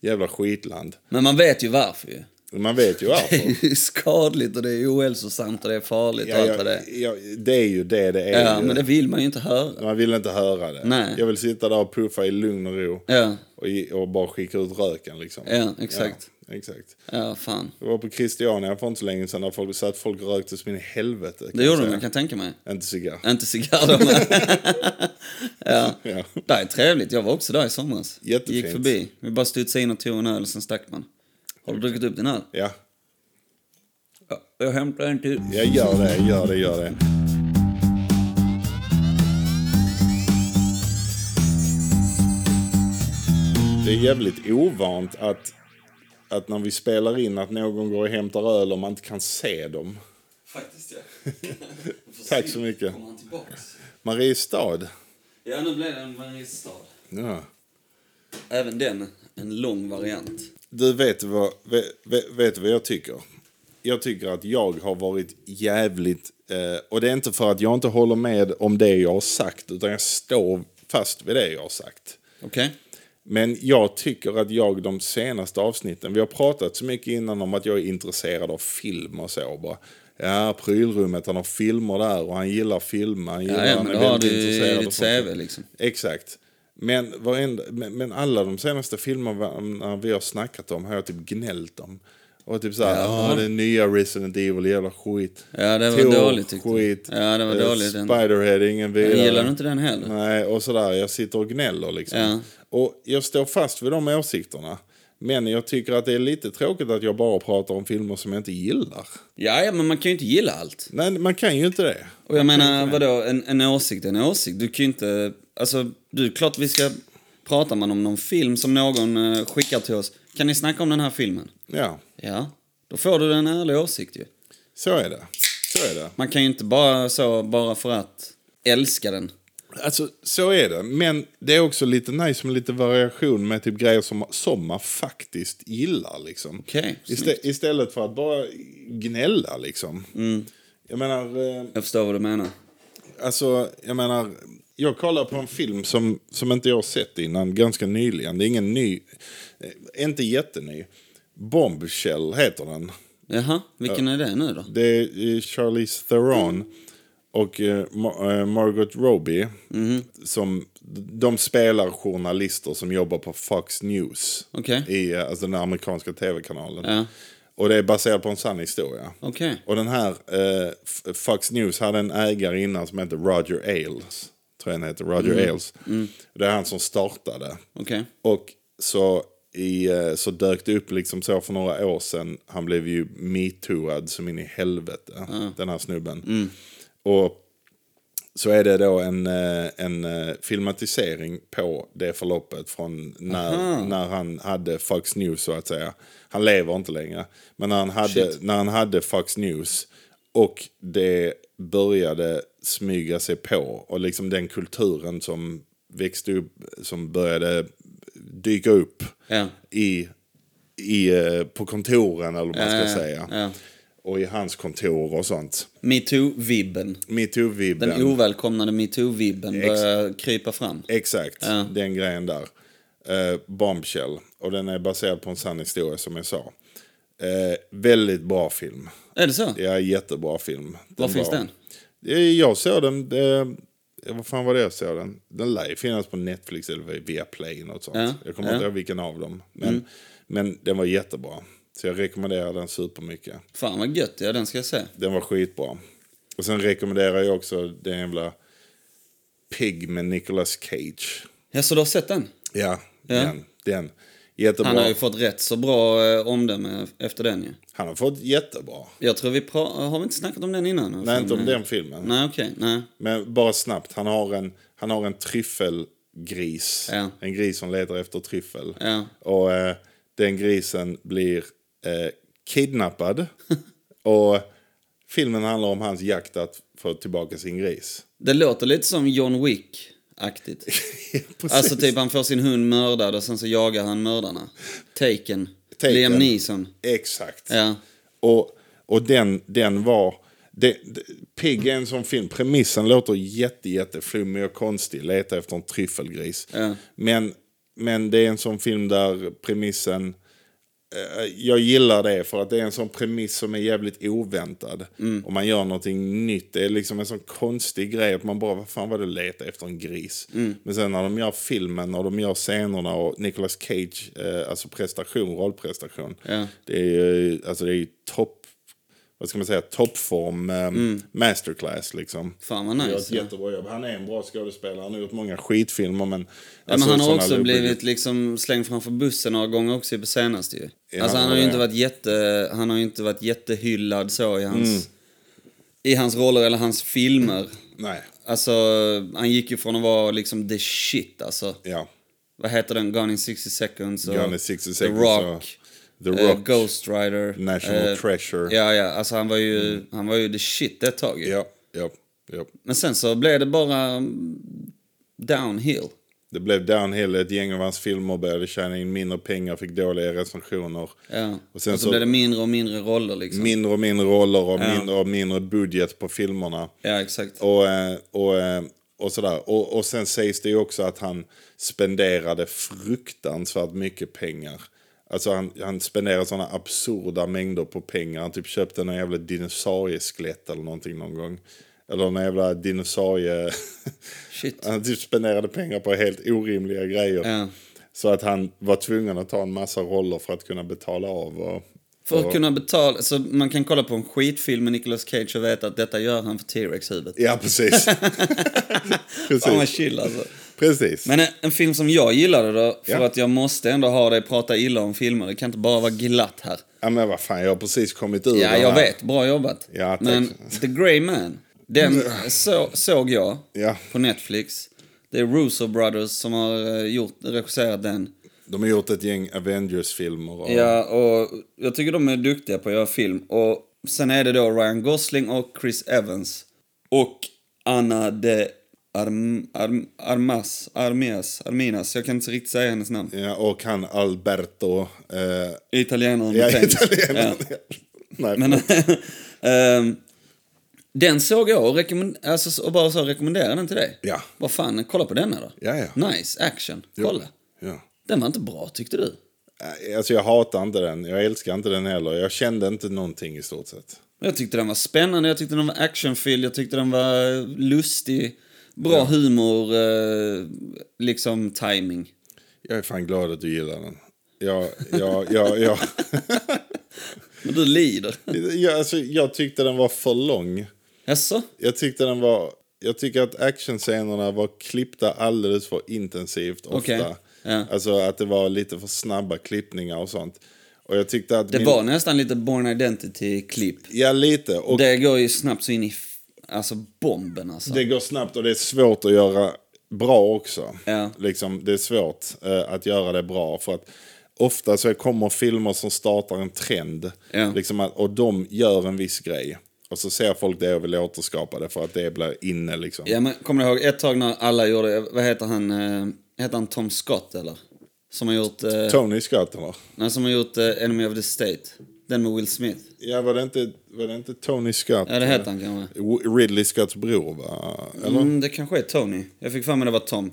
Jävla skitland. Men man vet ju varför ju. Man vet ju Det varför. är ju skadligt och det är ohälsosamt och det är farligt och Ja, allt jag, vad det är. jag, det är ju det det är. Ja, ju. men det vill man ju inte höra. Man vill inte höra det. Nej. Jag vill sitta där och puffa i lugn och ro. Ja, Och, ge- och bara skicka ut röken liksom. Ja, exakt. Ja, exakt. ja fan. Jag var på Christiania för inte så länge sedan där folk sa att folk rökte som in i helvete. kan Det jag gjorde de, säga. jag kan tänka mig. Inte cigarr. Inte cigarr då, men. Ja. Det är trevligt, jag var också där i somras. Jättefint. Gick förbi, vi bara studsade in och tog en öl och sen stack man. Har du druckit upp din öl? ja, Ja, jag hämtar en till. jag gör det, gör det, gör det. Det är jävligt ovant att, att när vi spelar in att någon går och hämtar öl och man inte kan se dem. Faktiskt ja. Tack så mycket. Kommer han tillbaks? Mariestad. Ja, nu blev det en Mariestad. Ja. Även den, en lång variant. Du, vet du vad, vet, vet, vet du vad jag tycker? Jag tycker att jag har varit jävligt... Eh, och det är inte för att jag inte håller med om det jag har sagt, utan jag står fast vid det jag har sagt. Okej? Men jag tycker att jag de senaste avsnitten, vi har pratat så mycket innan om att jag är intresserad av film och så bara. Ja, prylrummet, han har filmer där och han gillar film, han gillar, Ja, ja, han men är då har väldigt du i intresserad av ditt sånt. CV liksom. Exakt. Men, varenda, men, men alla de senaste filmerna vi har snackat om har jag typ gnällt om. Och typ såhär, ja. den nya Resident Evil, jävla skit. Ja, det var Tor, dåligt tyckte jag. skit. Ja, det var Eh, dåligt. Den- Spiderhead, ingen vidare. Jag gillar inte den heller. Nej, och sådär. Jag sitter och gnäller liksom. Ja. Och jag står fast vid de åsikterna. Men jag tycker att det är lite tråkigt att jag bara pratar om filmer som jag inte gillar. Ja, ja, men man kan ju inte gilla allt. Nej, man kan ju inte det. Och jag menar, vadå, en, en åsikt är en åsikt. Du kan ju inte... Alltså, du, klart vi ska... Pratar man om någon film som någon eh, skickar till oss, kan ni snacka om den här filmen? Ja, Ja, då får du en ärlig åsikt ju. så är det. Så är det. Man kan ju inte bara så, bara för att älska den. Alltså, så är det. Men det är också lite nice med lite variation med typ grejer som, som man faktiskt gillar. Liksom. Okej, Istä- istället för att bara gnälla liksom. Jag menar... eh, Jag förstår vad du menar. Alltså, jag menar, jag kollar på en film som, som inte jag har sett innan, ganska nyligen. Det är ingen ny, eh, inte jätteny. Bombshell heter den. Jaha, vilken är det nu då? Det är eh, Charlize Theron och eh, Ma- eh, Margot Robbie. Mhm. Som, de spelar journalister som jobbar på Fox News. Okej. I eh, alltså, den amerikanska tv-kanalen. Ja. Och det är baserat på en sann historia. Okej. Och den här eh, F- Fox News hade en ägare innan som hette Roger Ailes. Tror jag han heter, Roger Mhm. Ailes. Mm. Det är han som startade. Okej. Och så, i, eh, så dök det upp liksom så för några år sedan. Han blev ju metooad som in i helvete, den här snubben. Och så är det då en, eh, en eh, filmatisering på det förloppet från när, när han hade Fox News så att säga. Han lever inte längre. Men när han hade, när han hade Fox News och det började smyga sig på och liksom den kulturen som växte upp, som började dyka upp Ja. i, i, eh, på kontoren eller vad man ska Ja, ja, säga. ja. Och i hans kontor och sånt. Metoo-vibben. Metoo-vibben. Den ovälkomnade metoo-vibben börjar krypa fram. Exakt, den grejen där. Eh, bombshell. Och den är baserad på en sann historia som jag sa. Eh, väldigt bra film. Är det så? Ja, jättebra film. Den Var finns den? Eh, Jag såg den... Eh, vad fan var det jag såg den? Den lär ju finnas på Netflix eller via Play något sånt. Ja, Jag kommer ja. Mm. inte ihåg vilken av dem. Men, men den var jättebra. Så jag rekommenderar den supermycket. Fan vad gött, ja den ska jag se. Den var skitbra. Och sen rekommenderar jag också den jävla Pig med Nicolas Cage. Ja, så du har sett den? Ja, den. den. Jättebra. Han har ju fått rätt så bra eh, omdöme efter den ju. fått jättebra. Jag tror vi pra- har vi inte snackat om den innan? Eh, Nej, inte om den filmen. Nej, okej. Nej. Men bara snabbt, han har en, han har en tryffelgris. Ja. En gris som letar efter tryffel. Ja. Och eh, den grisen blir eh, kidnappad. och filmen handlar om hans jakt att få tillbaka sin gris. Det låter lite som John Wick-aktigt. alltså typ han får sin hund mördad och sen så jagar han mördarna. Taken. Taken. Liam Neeson. Exakt. Ja. Och, och den, den var... Det, det, Pigg är en sån film. Premissen låter jätte, jätteflummig och konstig. Leta efter en tryffelgris. Men, men det är en sån film där premissen... eh, Jag gillar det för att det är en sån premiss som är jävligt oväntad. Mm. Och man gör någonting nytt. Det är liksom en sån konstig grej att man bara, vad fan var det leta efter en gris? Mm. Men sen när de gör filmen och de gör scenerna och Nicolas Cage, eh, alltså prestation, rollprestation. Ja. Det är ju alltså det är ju topp, vad ska man säga, toppform eh, masterclass liksom. Fan vad Han gör Mm. nice. ett Ja. jättebra jobb. Han är en bra skådespelare. Han har gjort många skitfilmer men... alltså Ja, men han har också blivit blivit... liksom slängd framför bussen några gånger också på senaste ju. alltså han har ju ja. inte varit jätte, han har ju inte varit jättehyllad så i hans, Mm. i hans roller eller hans filmer. Nej, Alltså han gick ju från att vara liksom the shit alltså. ja. Vad heter den? Gone in 60 seconds. och Gone in 60 The seconds Rock. The eh, Rock. Ghost Rider. National eh, Treasure. Mm. Ja, ja. Alltså han var ju, han var ju the shit ett tag ju. Ja, ja, ja. Men sen så blev det bara mm, downhill. Det blev downhill. Ett gäng av hans filmer började tjäna in mindre pengar, fick dåliga recensioner. Ja. Och Och, sen så, så- blev det mindre och mindre roller liksom. Mindre och mindre roller och mindre och mindre budget på filmerna. Ja, exakt. Och, eh, och, eh, och sådär. Och, och sen sägs det ju också att han spenderade fruktansvärt mycket pengar. Alltså han, han spenderade sådana absurda mängder på pengar. Han typ köpte någon jävla dinosaurieskelett eller någonting någon gång. Eller någon jävla dinosaurie... Shit. han typ spenderade pengar på helt orimliga grejer. Ja. Så att han var tvungen att ta en massa roller för att kunna betala av. Och, För att kunna betala, så man kan kolla på en skitfilm med Nicolas Cage och veta att detta gör han för T-Rex-huvudet. Ja, precis. Fan vad precis. chill alltså. precis. Men en, en film som jag gillade då, för Ja. att jag måste ändå ha dig prata illa om filmer. Det kan inte bara vara glatt här. Ja, men vad fan, jag har precis kommit ur Ja, den jag här. vet. Bra jobbat. Ja, tack. Mm. Men The Grey Man, den så, såg jag Ja. på Netflix. Det är Russo Brothers som har eh, gjort, regisserat den. De har gjort ett gäng Avengers-filmer. Och... Ja, och jag tycker de är duktiga på att göra film. Och sen är det då Ryan Gosling och Chris Evans. Och Anna de Arm, Arm, Armas, Armias, Arminas. Jag kan inte riktigt säga hennes namn. Ja, och han Alberto. Eh, Italienaren ja, med penis. italienaren. Ja. Nej, Men, ehm, den såg jag och, rekommend- alltså, och bara så rekommenderade den till dig. Ja. Vad fan, kolla på den här då. Ja, ja. Nice, action. Kolla. ja. Den var inte bra tyckte du. Eh, Alltså jag hatar inte den, jag älskar inte den heller. Jag kände inte någonting i stort sett. Jag tyckte den var spännande, jag tyckte den var actionfylld, jag tyckte den var lustig. Bra humor, eh, liksom timing. Jag är fan glad att du gillar den. Jag, jag, jag, jag, Men du lider. jag, alltså, jag tyckte den var för lång. Jaså? Jag tyckte den var... Jag tycker att actionscenerna var klippta alldeles för intensivt ofta. Okej, ja. Alltså att det var lite för snabba klippningar och sånt. Och jag tyckte att... Det min- var nästan lite Born Identity-klipp. Ja, lite. Och Det går ju snabbt så in i f- alltså bomben alltså. Det går snabbt och det är svårt att göra bra också. Ja. Liksom, det är svårt eh, att göra det bra. För att ofta så kommer filmer som startar en trend. Ja. Liksom att, och de gör en viss grej. Och så ser folk det och vill återskapa det för att det blir inne liksom. Ja, men kommer du ihåg ett tag när alla gjorde, vad heter han, eh, heter han Tom Scott eller? Som har gjort, eh, Tony Scott eller? nej, som har gjort eh, Enemy of the State. Den med Will Smith. Ja, var det inte, var det inte Tony Scott? Ja, det heter han kanske. W- Ridley Scotts bror va? Eller? Mm, det kanske är Tony. Jag fick för mig det var Tom.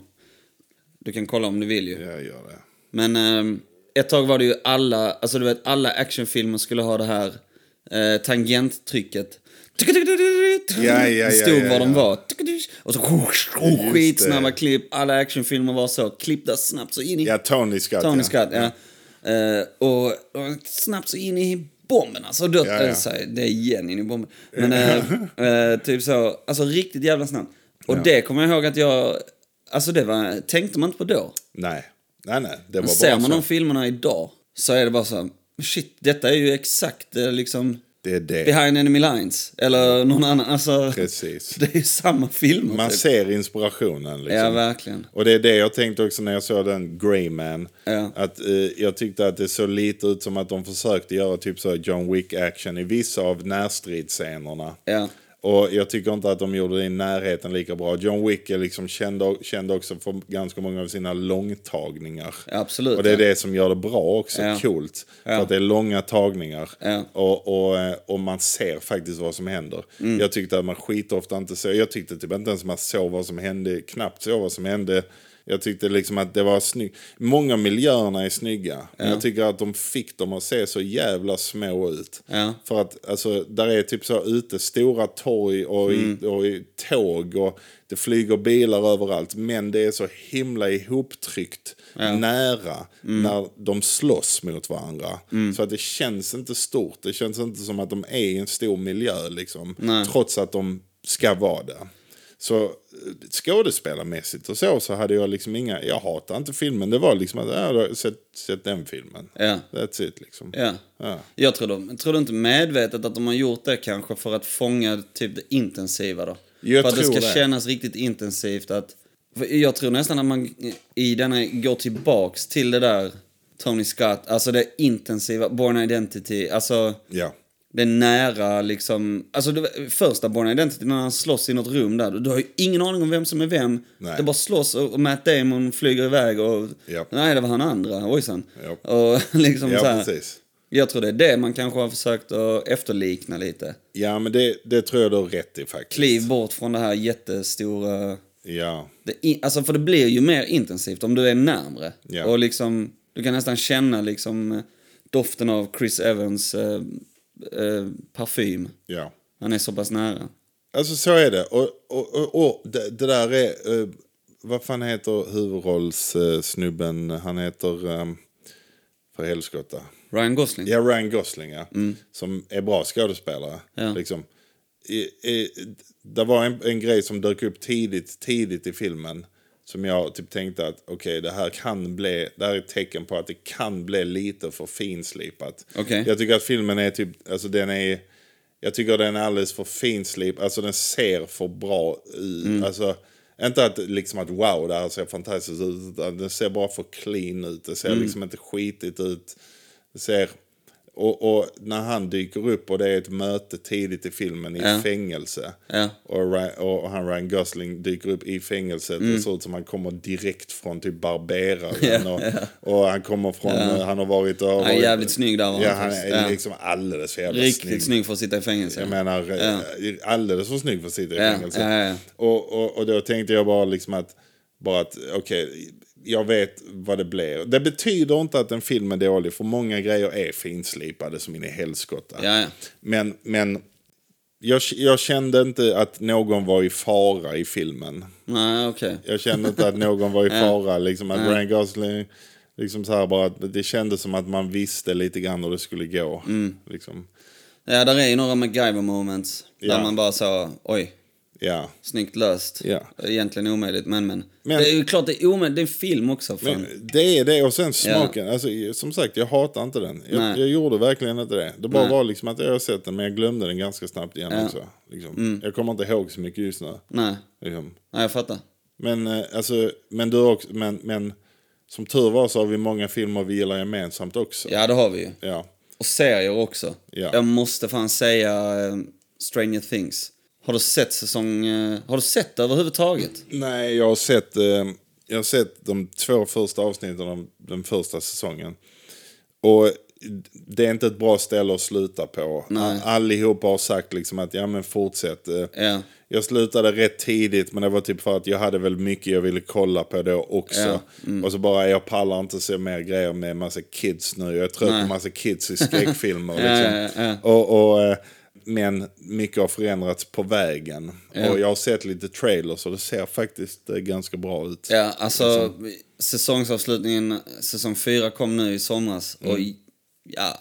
Du kan kolla om du vill ju. Ja, gör det. Men ehm, ett tag var det ju alla, alltså du vet alla actionfilmer skulle ha det här eh, tangenttrycket. ja, ja, Det stod ja, var de ja. var. Och så skitsnabba klipp. Alla actionfilmer var så klippta snabbt så in i Ja, Tony Scott. Tony ja. Scott, ja. Eh, och, och snabbt så in i bomben alltså. Dött, Ja, ja. eh, så här, det är igen in i bomben. Men eh, eh, typ så, alltså riktigt jävla snabbt. Och det kommer jag ihåg att jag, alltså det var, tänkte man inte på då. Nej. Nej, nej. Det var Ser bara man så. de filmerna idag så är det bara så här, shit, detta är ju exakt eh, liksom Det är det. behind enemy lines. Eller någon annan, alltså. Precis. Det är ju samma filmer. Man typ. ser inspirationen liksom. Ja, verkligen. Och det är det jag tänkte också när jag såg den Greyman. Ja. Att eh, jag tyckte att det såg lite ut som att de försökte göra typ så här John Wick-action i vissa av närstridsscenerna. Ja. Och jag tycker inte att de gjorde det i närheten lika bra. John Wick är liksom kände, kände också för ganska många av sina långtagningar. Ja, absolut, Och det är ja. det som gör det bra också, Ja. coolt. För att det är långa tagningar. Ja. Och, och, eh, och man ser faktiskt vad som händer. Mm. Jag tyckte att man skitofta inte såg, jag tyckte typ inte ens man såg vad som hände, knappt såg vad som hände. Jag tyckte liksom att det var snyggt. Många miljöerna är snygga. Men jag tycker att de fick dem att se så jävla små ut. Ja. För att alltså, där är typ så ute stora torg och, Mm. i, och i tåg och det flyger bilar överallt. Men det är så himla ihoptryckt nära Mm. när de slåss mot varandra. Så att det känns inte stort. Det känns inte som att de är i en stor miljö liksom. Trots att de ska vara där. Så eh, skådespelarmässigt och så, så hade jag liksom inga, jag hatar inte filmen. Det var liksom att, ja, jag har sett, sett den filmen. Ja. That's it liksom. Ja. Ja. Jag tror, de, tror du inte medvetet att de har gjort det kanske för att fånga typ det intensiva då? Jag för att det tror ska det. kännas riktigt intensivt att... för Jag tror nästan att man i denna går tillbaks till det där Tony Scott, alltså det intensiva, Born Identity, alltså... Ja. Det är nära liksom, alltså det, första Born Identity när han slåss i något rum där, du har ju ingen aning om vem som är vem. Nej. Det bara slåss och och Matt Damon flyger iväg och, Japp. nej det var han andra, ojsan. Japp. Och liksom Ja, så här, precis. Jag tror det är det man kanske har försökt att efterlikna lite. Ja, men det, det tror jag du har rätt i faktiskt. Kliv bort från det här jättestora, Ja, det, i- alltså för det blir ju mer intensivt om du är närmre. Ja. Och liksom, du kan nästan känna liksom eh, doften av Chris Evans eh, eh, parfym. ja. Han är så pass nära. Alltså så är det. Och, och, och, och det, det där är... eh, vad fan heter huvudrollssnubben? Han heter... Um, eh, För helskotta. Ryan Gosling. Ja, Ryan Gosling, ja. Som är bra skådespelare. Liksom, i, i, det var en, en grej som dök upp tidigt, tidigt i filmen. Som jag typ tänkte att okej, det här kan bli, det här är ett tecken på att det kan bli lite för finslipat. Okej. Jag tycker att filmen är typ, alltså den är, jag tycker den är alldeles för finslipad, alltså den ser för bra ut. Alltså, inte att liksom att wow, det här ser fantastiskt ut, utan den ser bara för clean ut, det ser liksom inte skitigt ut. Det ser, och, och när han dyker upp och det är ett möte tidigt i filmen i fängelse. Ja. Och, Ry- och han Ryan Gosling dyker upp i fängelset. Mm. Det ser ut som han kommer direkt från typ barberaren. och, och han kommer från, eh, han har varit och... Han är jävligt snygg där var Ja, han han faktiskt. är Ja. liksom alldeles för jävla snygg. Riktigt snygg för att sitta i fängelse. Jag menar, eh, alldeles för snygg för att sitta i Ja, fängelse. ja, ja. Och, och, och då tänkte jag bara liksom att, bara att okej, jag vet vad det blir. Det betyder inte att en film är dålig, för många grejer är finslipade som in i helskotta. Ja, ja. Men, men jag, jag kände inte att någon var i fara i filmen. Nej, okej. Jag kände inte att någon var i fara. Liksom att Ryan Gosling, liksom så här bara, att det kändes som att man visste lite grann hur det skulle gå. Liksom. Ja, där är ju några MacGyver-moments. Ja. Där man bara sa, oj, Ja. snyggt löst. Ja. Egentligen omöjligt, men men. Men- det är ju klart det är omöjligt, det är en film också. Fan. Men det är det och sen smaken. Alltså, som sagt, jag hatar inte den. Jag, Nej. jag gjorde verkligen inte det. Det bara var liksom att jag har sett den men jag glömde den ganska snabbt igen också. Liksom. Mm. Jag kommer inte ihåg så mycket just nu. Nej. Liksom. Nej, jag fattar. Men, eh, alltså, men, du har också, men, men som tur var så har vi många filmer vi gillar gemensamt också. Ja, det har vi ju. Ja. Och serier också. Ja. Jag måste fan säga eh, Stranger Things. Har du sett säsong... Eh, har du sett det överhuvudtaget? Nej, jag har sett, eh, jag har sett de två första avsnitten av den första säsongen. Och det är inte ett bra ställe att sluta på. Nej. Allihopa har sagt liksom att ja men fortsätt. eh. Ja. Jag slutade rätt tidigt men det var typ för att jag hade väl mycket jag ville kolla på då också. Ja, mm. Och så bara jag pallar inte se mer grejer med massa kids nu. Jag är trött på massa kids i skräckfilmer. liksom. ja, ja, Och, och, eh, men mycket har förändrats på vägen. Och jag har sett lite trailers och det ser faktiskt eh, ganska bra ut. Ja, alltså säsongsavslutningen, säsong fyra kom nu i somras. Och Mm. ja,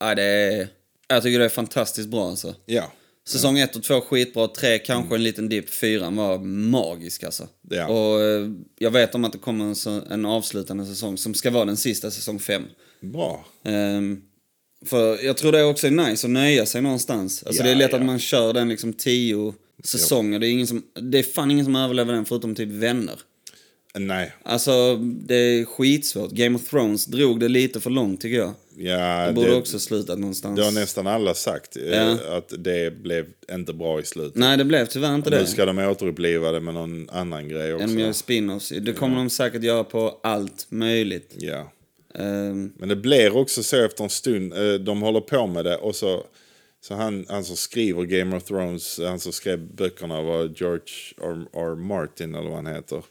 ja, det är... Jag tycker det är fantastiskt bra alltså. Ja. Säsong ett och två skitbra, tre kanske en liten dipp, fyran var magisk alltså. Ja. Och eh, jag vet om att det kommer en, så- en avslutande säsong som ska vara den sista, säsong fem. Bra. Ehm, för jag tror det också är nice att nöja sig någonstans. Alltså Ja, det är lätt ja. att man kör den liksom tio säsonger. Det är, ingen som, det är fan ingen som överlever den förutom typ vänner. Nej. Alltså det är skitsvårt. Game of Thrones drog det lite för långt tycker jag. Ja, Det borde det, också slutat någonstans. det har nästan alla sagt. eh, Ja. Att det blev inte bra i slutet. Nej, det blev tyvärr inte Nu det. ska de återuppliva det med någon annan grej också. Än med spin-offs. Det kommer de säkert göra på allt möjligt. Ja. Ehm, Men det blir också så efter en stund, eh, de håller på med det och så, så han, han som skriver Game of Thrones, han som skrev böckerna var George R. R. Martin eller vad han heter.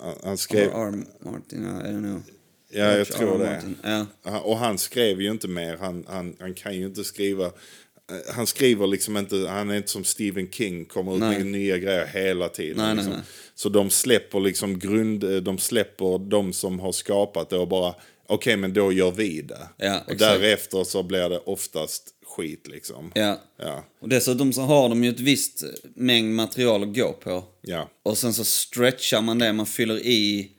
Han- han skrev, or eh, Arm Martin, I don't know. ja jag George tror R. R. det. Martin, ja. Han- Och han skrev ju inte mer, han, han, han kan ju inte skriva. eh, Han skriver liksom inte, han är inte som Stephen King, kommer ut Nej. med nya grejer hela tiden. Nej, nej, liksom. nej. Så de släpper liksom grund, eh, de släpper de som har skapat det och bara, okej men då gör vi det. Ja, och exakt. därefter så blir det oftast skit liksom. Ja. Ja, Och dessutom så har de ju ett visst mängd material att gå på. ja, Och sen så stretchar man det, man fyller i,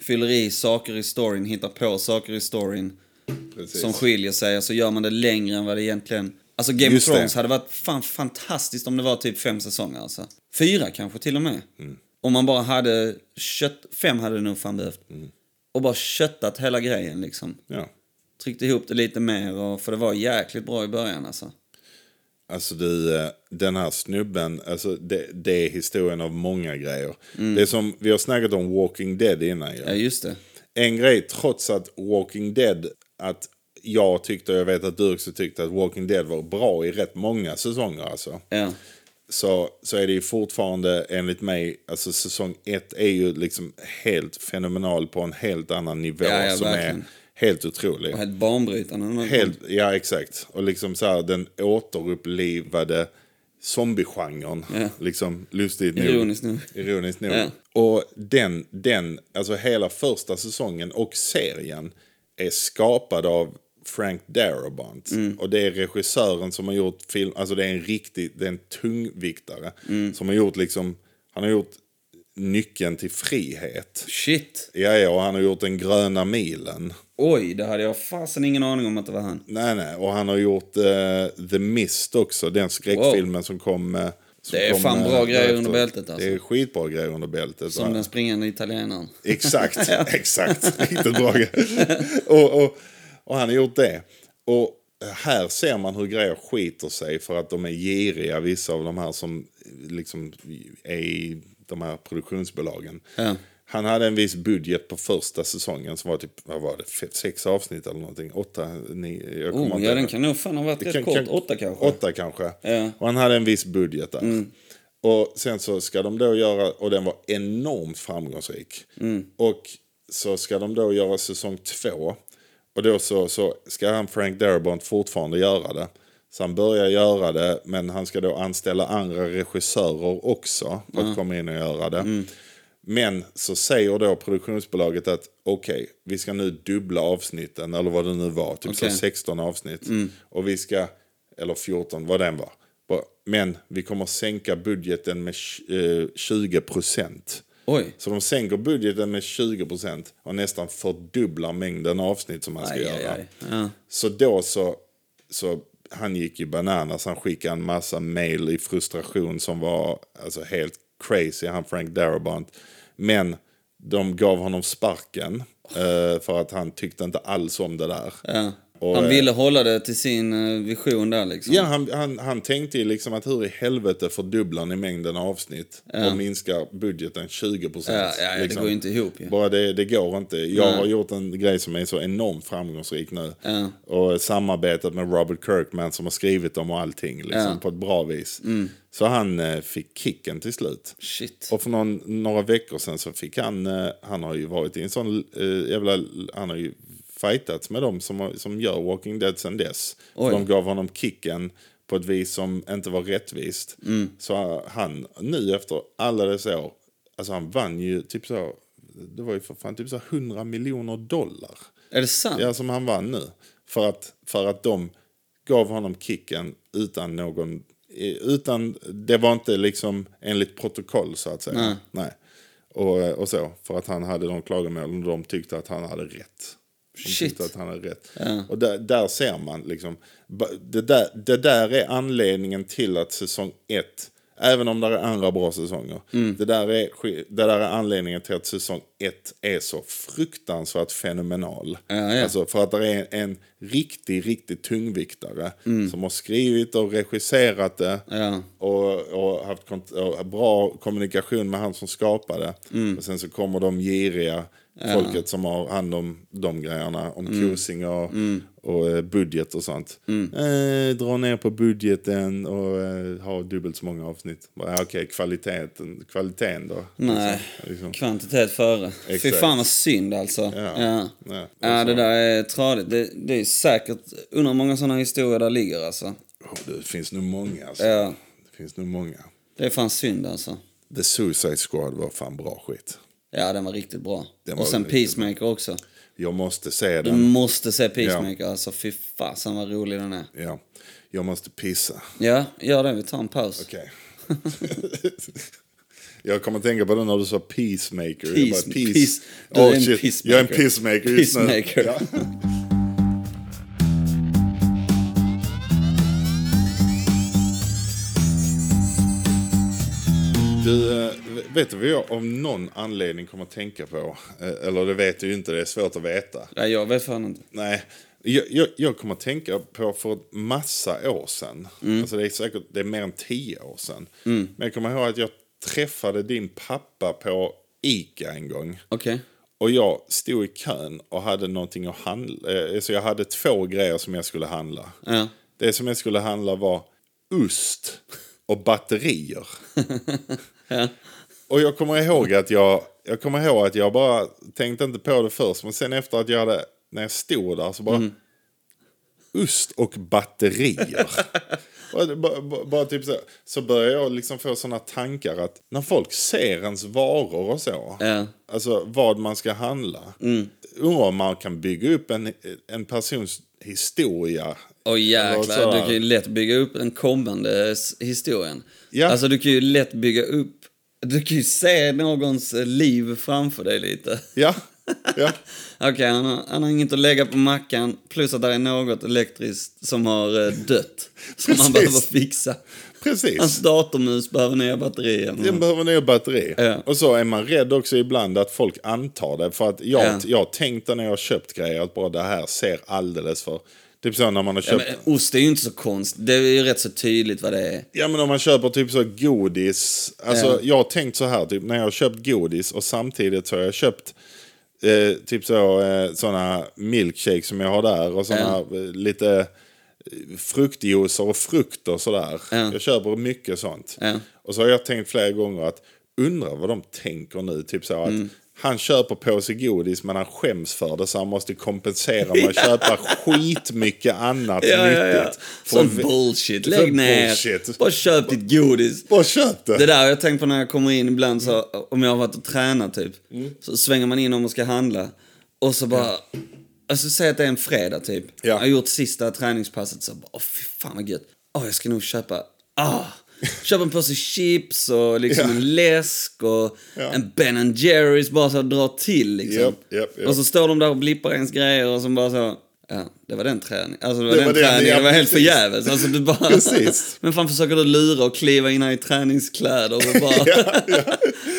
fyller i saker i storyn, hittar på saker i storyn precis. som skiljer sig och så gör man det längre än vad det egentligen... Alltså Game Just of Thrones det. hade varit fan fantastiskt om det var typ fem säsonger alltså. Fyra kanske till och med. Mm. Om man bara hade kött... Fem hade det nog fan behövt. Mm. Och bara köttat hela grejen liksom. ja. Tryckt ihop det lite mer och... För det var jäkligt bra i början alltså. Alltså du, eh, den här snubben, alltså det, det är historien av många grejer. Det är som, vi har snackat om Walking Dead innan ju. Mm. Ja, just det. en grej trots att Walking Dead, att jag tyckte och jag vet att du också tyckte att Walking Dead var bra i rätt många säsonger alltså. Ja. Så, så är det ju fortfarande enligt mig, alltså säsong ett är ju liksom helt fenomenal på en helt annan nivå Ja, ja, som verkligen. är helt otrolig. Och helt banbrytande. Helt, ja exakt. Och liksom så här den återupplivade zombiegenren. Ja. Liksom lustigt nog. Ironiskt nog. Ironiskt nog. Ja. Och den, den, alltså hela första säsongen och serien är skapad av Frank Darabont. Mm. Och det är regissören som har gjort film, alltså det är en riktig, det är en tungviktare. Mm. Som har gjort liksom, han har gjort Nyckeln till frihet. Shit. Ja, ja, och han har gjort Den gröna milen. Oj, det hade jag fasen ingen aning om att det var han. Nej, nej, och han har gjort eh, The Mist också, den skräckfilmen som kom... eh, som Det är kom, fan eh, bra grejer därefter. under bältet, alltså. Det är skitbra grejer under bältet. Som va? den springande italienaren. Exakt, exakt. Riktigt bra och, och, och han har gjort det. Och här ser man hur grejer skiter sig för att de är giriga, vissa av de här som liksom är i de här produktionsbolagen. Ja. Han hade en viss budget på första säsongen som var typ, vad var det, fe- sex avsnitt eller någonting? Åtta, nio, jag kommer Oh, inte ja, ihåg. den kan nog fan ha varit rätt Kan- kort. kan- Åtta kanske. Åtta kanske. Ja. Mm. Och han hade en viss budget där. Och sen så ska de då göra, och den var enormt framgångsrik. Och så ska de då göra säsong två. Och då så, så ska han Frank Darabont fortfarande göra det. Så han börjar göra det, men han ska då anställa andra regissörer också för att komma in och göra det. Men så säger då produktionsbolaget att okej, vi ska nu dubbla avsnitten, eller vad det nu var, typ Okej. så 16 avsnitt. Och vi ska, eller 14, vad den var. Bara, Men vi kommer sänka budgeten med tj- eh, 20 procent. Oj. Så de sänker budgeten med 20 procent och nästan fördubblar mängden avsnitt som man ska Aj, göra. aj, aj. Ja. Så då så, så, han gick ju bananas. Han skickade en massa mail i frustration som var alltså, helt crazy, han Frank Darabont. Men de gav honom sparken eh, för att han tyckte inte alls om det där. Ja. Och, han eh, ville hålla det till sin eh, vision där liksom. Ja, han, han, han tänkte ju liksom att hur i helvete fördubblar ni mängden avsnitt och minskar budgeten 20 procent. Ja, ja, ja, det liksom. går ju inte ihop ju. Bara det, det går inte. Jag har gjort en grej som är så enormt framgångsrik nu. Och samarbetat med Robert Kirkman som har skrivit dem och allting liksom, på ett bra vis. Mm. Så han eh, fick kicken till slut. Shit. Och för någon, några veckor sedan så fick han, eh, han har ju varit i en sån eh, jävla, han har ju fightats med dem som, har- som gör Walking Dead sedan dess. För Oj. de gav honom kicken på ett vis som inte var rättvist. Mm. Så han nu efter alla dessa år, alltså han vann ju typ så, det var ju för fan typ så 100 miljoner dollar. Är det sant? Ja, som han vann nu. För att, för att de gav honom kicken utan någon... eh, Utan, det var inte liksom enligt protokoll så att säga. Nej. Och, eh, och så, för att han hade de klagomålen och de tyckte att han hade rätt. De Shit. tyckte att han hade rätt. Och där, där ser man liksom, ba- det där, det där är anledningen till att säsong ett, även om det är andra bra säsonger, Mm. det, där är, sk- det där är anledningen till att säsong ett är så fruktansvärt fenomenal. Ja, ja. Alltså för att det är en, en riktig, riktig tungviktare som har skrivit och regisserat det Ja. och, och haft kont- och bra kommunikation med han som skapade. Mm. Och sen så kommer de giriga folket som har hand om de grejerna, om Mm. kosing och, och eh, budget och sånt. Eh, dra ner på budgeten och eh, ha dubbelt så många avsnitt. Bara, ja, Okej, kvaliteten, kvaliteten då? Nej. Liksom. Kvantitet före. Fy fan vad synd alltså. Ja. Ja. Ja. Ja, det där är tradigt. Det, det är säkert, undrar hur många sådana historier där ligger alltså. Åh, det finns nog många alltså. Ja, Det finns nog många. det är fan synd alltså. The Suicide Squad var fan bra skit. Ja, den var riktigt bra. Den Och var sen riktigt Peacemaker också. Jag måste säga Du den. måste se Peacemaker alltså. Fy fasen vad rolig den är. Ja. Jag måste pissa. Ja, gör det. Vi tar en paus. Okej. jag kommer att tänka på det när du sa peacemaker. jag Oh, Peace- peace. Du är en peacemaker. Jag är en peacemaker just nu. Peacemaker. Ja. Du, eh, vet du vad jag av någon anledning kommer att tänka på? Eh, Eller det vet du ju inte, det är svårt att veta. Nej, jag vet fan inte. Nej, jag, jag, jag kommer att tänka på för ett massa år sedan. Alltså det är säkert det är mer än tio år sedan. Men jag kommer ihåg att jag träffade din pappa på Ica en gång. Okej. Och jag stod i kön och hade någonting att handla. eh, Så jag hade två grejer som jag skulle handla. Ja. Det som jag skulle handla var ost och batterier. Och jag kommer ihåg att jag, jag kommer ihåg att jag bara tänkte inte på det först. Men sen efter att jag hade, när jag stod där så bara. ost och batterier. Och det bara, bara- bara typ så, så börjar jag liksom få sådana tankar att när folk ser ens varor och så, Ja. alltså vad man ska handla, undrar om man kan bygga upp en, en persons historia. Åh Eller så jäklar, här. du kan ju lätt bygga upp den kommande s- historien. Ja. Alltså du kan ju lätt bygga upp, du kan ju se någons eh, liv framför dig lite. Ja, ja. Okej, han, har- han har inget att lägga på mackan, plus att det är något elektriskt som har eh, dött. Som han Precis. behöver fixa. Hans precis. datormus behöver nya batterier. Den behöver nya batteri. mm. Ja. Och så är man rädd också ibland att folk antar det. För att jag, Ja. jag tänkte när jag har köpt grejer att bara det här ser alldeles för... Typ så när man har Ja, köpt... men ost är ju inte så konstigt, det är ju rätt så tydligt vad det är. Ja men om man köper typ så godis. Alltså jag har tänkt så här typ när jag har köpt godis och samtidigt så har jag köpt eh, typ så eh, sådana milkshakes som jag har där och sådana eh, lite eh, fruktjuicer och frukt och sådär. Jag köper mycket sånt. Ja. Och så har jag tänkt flera gånger att undra vad de tänker nu. Typ så att Mm. han köper på sig godis men han skäms för det så han måste kompensera med att köpa skitmycket annat Ja, nyttigt. ja, ja. För att Sån vä- bullshit, för lägg ner. bullshit. Bara köp ditt godis. Bara köp Det där har jag tänkt på när jag kommer in ibland, Mm. så, om jag har varit och tränat typ. Så svänger man in om man ska handla. Och så bara... Alltså säg att det är en fredag typ. Ja. Jag har gjort sista träningspasset så bara, åh fy fan vad gött. Åh jag ska nog köpa, ah! Köpa en påse chips och liksom Ja. en läsk och Ja. en Ben Jerrys bara så att dra till liksom. Japp, japp, japp. Och så står de där och blippar ens grejer och så bara så, ja det var den träningen. Alltså det var Det den var den, träningen, ja, det var helt precis. förgäves. Alltså du bara... Precis. Men fan försöker du lura och kliva in här i träningskläder och bara...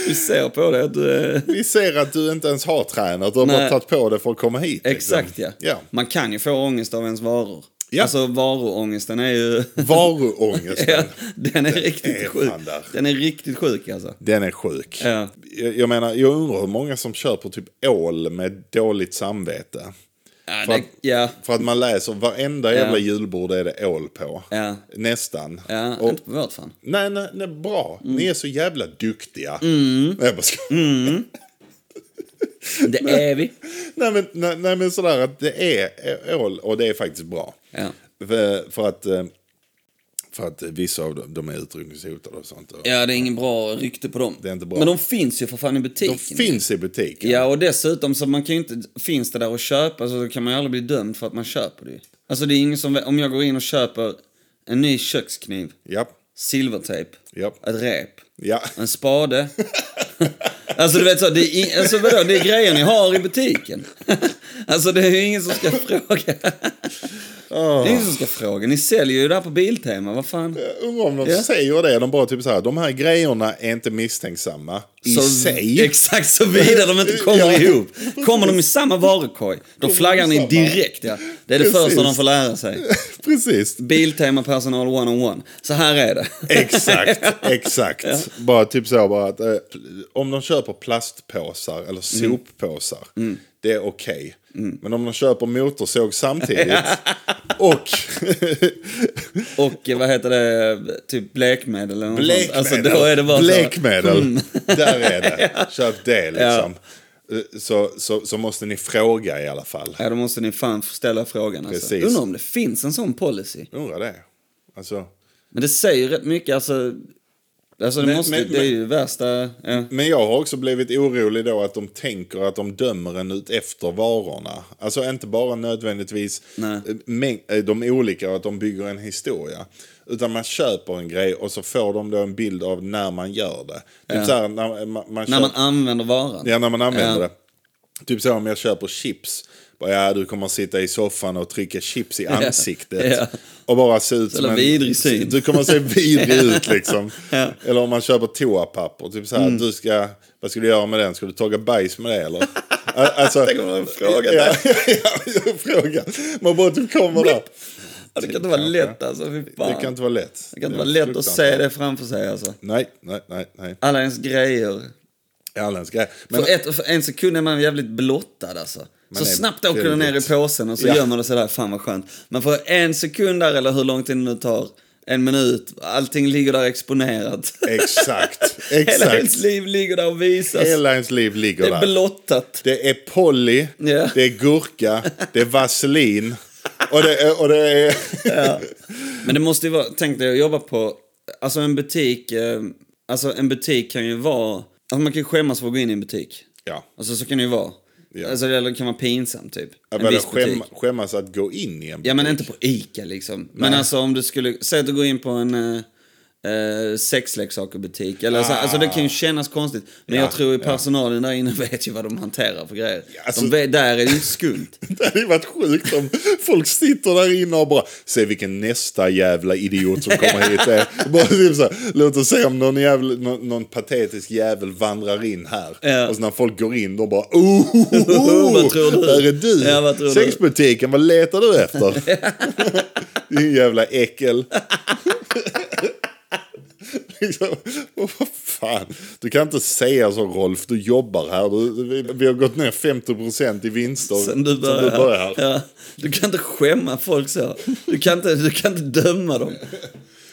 Du ser på det att du är... Vi ser att du inte ens har tränat. Du har Nej. bara tagit på det för att komma hit. liksom. Exakt ja. ja. Man kan ju få ångest av ens varor. Ja. Alltså varuångesten är ju... Varuångesten. den är riktigt är sjuk. fan där. Den är riktigt sjuk alltså. Den är sjuk. Ja. Jag, jag menar, jag undrar hur många som köper typ ål med dåligt samvete. Ja, För det, att- ja. För att man läser varenda jävla julbord är det ål på. Ja. Nästan. ja Mm. Och, inte på vårt fan. nej, nej, nej, bra. Ni är så jävla duktiga. Mm. Nej, jag bara skojar. Det är vi. nej, men, nej, nej men sådär att det är ä- ål och det är faktiskt bra. Ja. För, för att... eh, För att vissa av dem de är utrotningshotade och sånt. Och Ja, det är ingen bra rykte på dem. Det är inte bra. Men de finns ju för fan i butiken. De finns i butiken. Ja, och dessutom så man kan ju inte, finns det där att köpa så kan man ju aldrig bli dömd för att man köper det. Alltså det är ingen som, om jag går in och köper en ny kökskniv, Ja. silvertejp, Japp. ett rep, Ja. en spade. Alltså du vet så, det är, in, alltså, vadå, det är grejer ni har i butiken. Alltså det är ju ingen som ska fråga. Det är ingen som ska fråga. Ni säljer ju det här på Biltema, vad fan. Jag Undrar om de Ja. säger det. De bara typ så här. De här grejerna är inte misstänksamma i Så- sig. Exakt, såvida de inte kommer Ja. ihop. Kommer de i samma varukorg, då flaggar ni samma. direkt. Ja. Det är det Precis. första de får lära sig. Precis. Biltema personal one-on-one. Så här är det. Exakt, exakt. Bara typ så bara att eh, om de köper plastpåsar eller Mm. soppåsar, det är okej. Men om de köper motorsåg samtidigt och Och eh, vad heter det, typ blekmedel eller något sånt. blekmedel, Alltså då är det bara Mm. blekmedel där är det. Köp det liksom. Eh, Så, så, så måste ni fråga i alla fall. så. Ja, då måste ni fan ställa frågan alltså. Precis. Undrar om det finns en sån policy. Undrar det. Alltså, Men det säger rätt mycket alltså. Alltså det, Men- måste, men- det är ju värsta... Ja. Men jag har också blivit orolig då att de tänker att de dömer en ut efter varorna. Alltså inte bara nödvändigtvis Nej. eh, mäng- eh, de olika och att de bygger en historia. Utan man köper en grej och så får de då en bild av när man gör det. Typ så här, när, man, man När köper, man använder varan. ja, när man använder Ja. det. Typ så om jag köper chips. Bara, Ja, du kommer sitta i soffan och trycka chips i ansiktet. Ja. Och bara se ut som Eller vidrig syn. Du kommer se vidrig ut liksom. Eller om man köper toapapper. Typ så här, Mm. du ska, vad ska du göra med den? Ska du tugga bajs med det eller? A- Alltså, Tänk om någon frågar ja, ja, ja, fråga. Man bara typ kommer där. Det kan inte vara lätt alltså, fy fan. Det kan inte vara lätt. Det kan inte är vara lätt att fruktansvärt. se det framför sig alltså. Nej, nej, nej. nej. Alla ens grejer. Erländsk grej. Men, För, ett, för en sekund är man jävligt blottad alltså. så är snabbt åker den ner i väldigt- påsen och så Ja. gömmer det sig där. Fan vad skönt. Men för en sekund där, eller hur lång tid det nu tar, en minut, allting ligger där exponerat. exakt, Hela ens exakt. liv ligger där och visas. Hela ens liv ligger det där. är blottat. Det är Polly, Ja. det är gurka, det är vaselin. Och det, är- och det är... Men det måste ju vara, tänk dig att jobba på, alltså en butik, eh, alltså en butik kan ju vara, alltså man kan ju skämmas för att gå in i en butik. Ja. Alltså så kan det ju vara. Ja. Alltså eller det kan vara pinsamt typ. Jag en menar, viss butik. skäm, skämmas att gå in i en Ja men inte på ICA liksom. Men alltså om du skulle, säg att du går in på en eh, eh, sexleksakerbutik. Eller så, alltså det Ah. kan ju kännas konstigt. Men jag tror ju personalen där inne vet ju vad de hanterar för grejer. alltså- de vet, där är det ju inte skumt. Det hade ju varit sjukt om folk sitter där inne och bara se vilken nästa jävla idiot som kommer hit är. Bara typ så här, låt oss se om någon, jävla, någon, någon patetisk jävel vandrar in här. Ja. Och så när folk går in, de bara oh, oh, oh Vad tror du? där är du. Ja, vad tror du? Sexbutiken, vad letar du efter? Din jävla äckel. Liksom, vad fan? Du kan inte säga så Rolf, du jobbar här. Du, vi, vi har gått ner 50% i vinster Sen du börjar. Sen du börjar. Ja. Du kan inte skämma folk så. Du kan inte, du kan inte döma dem.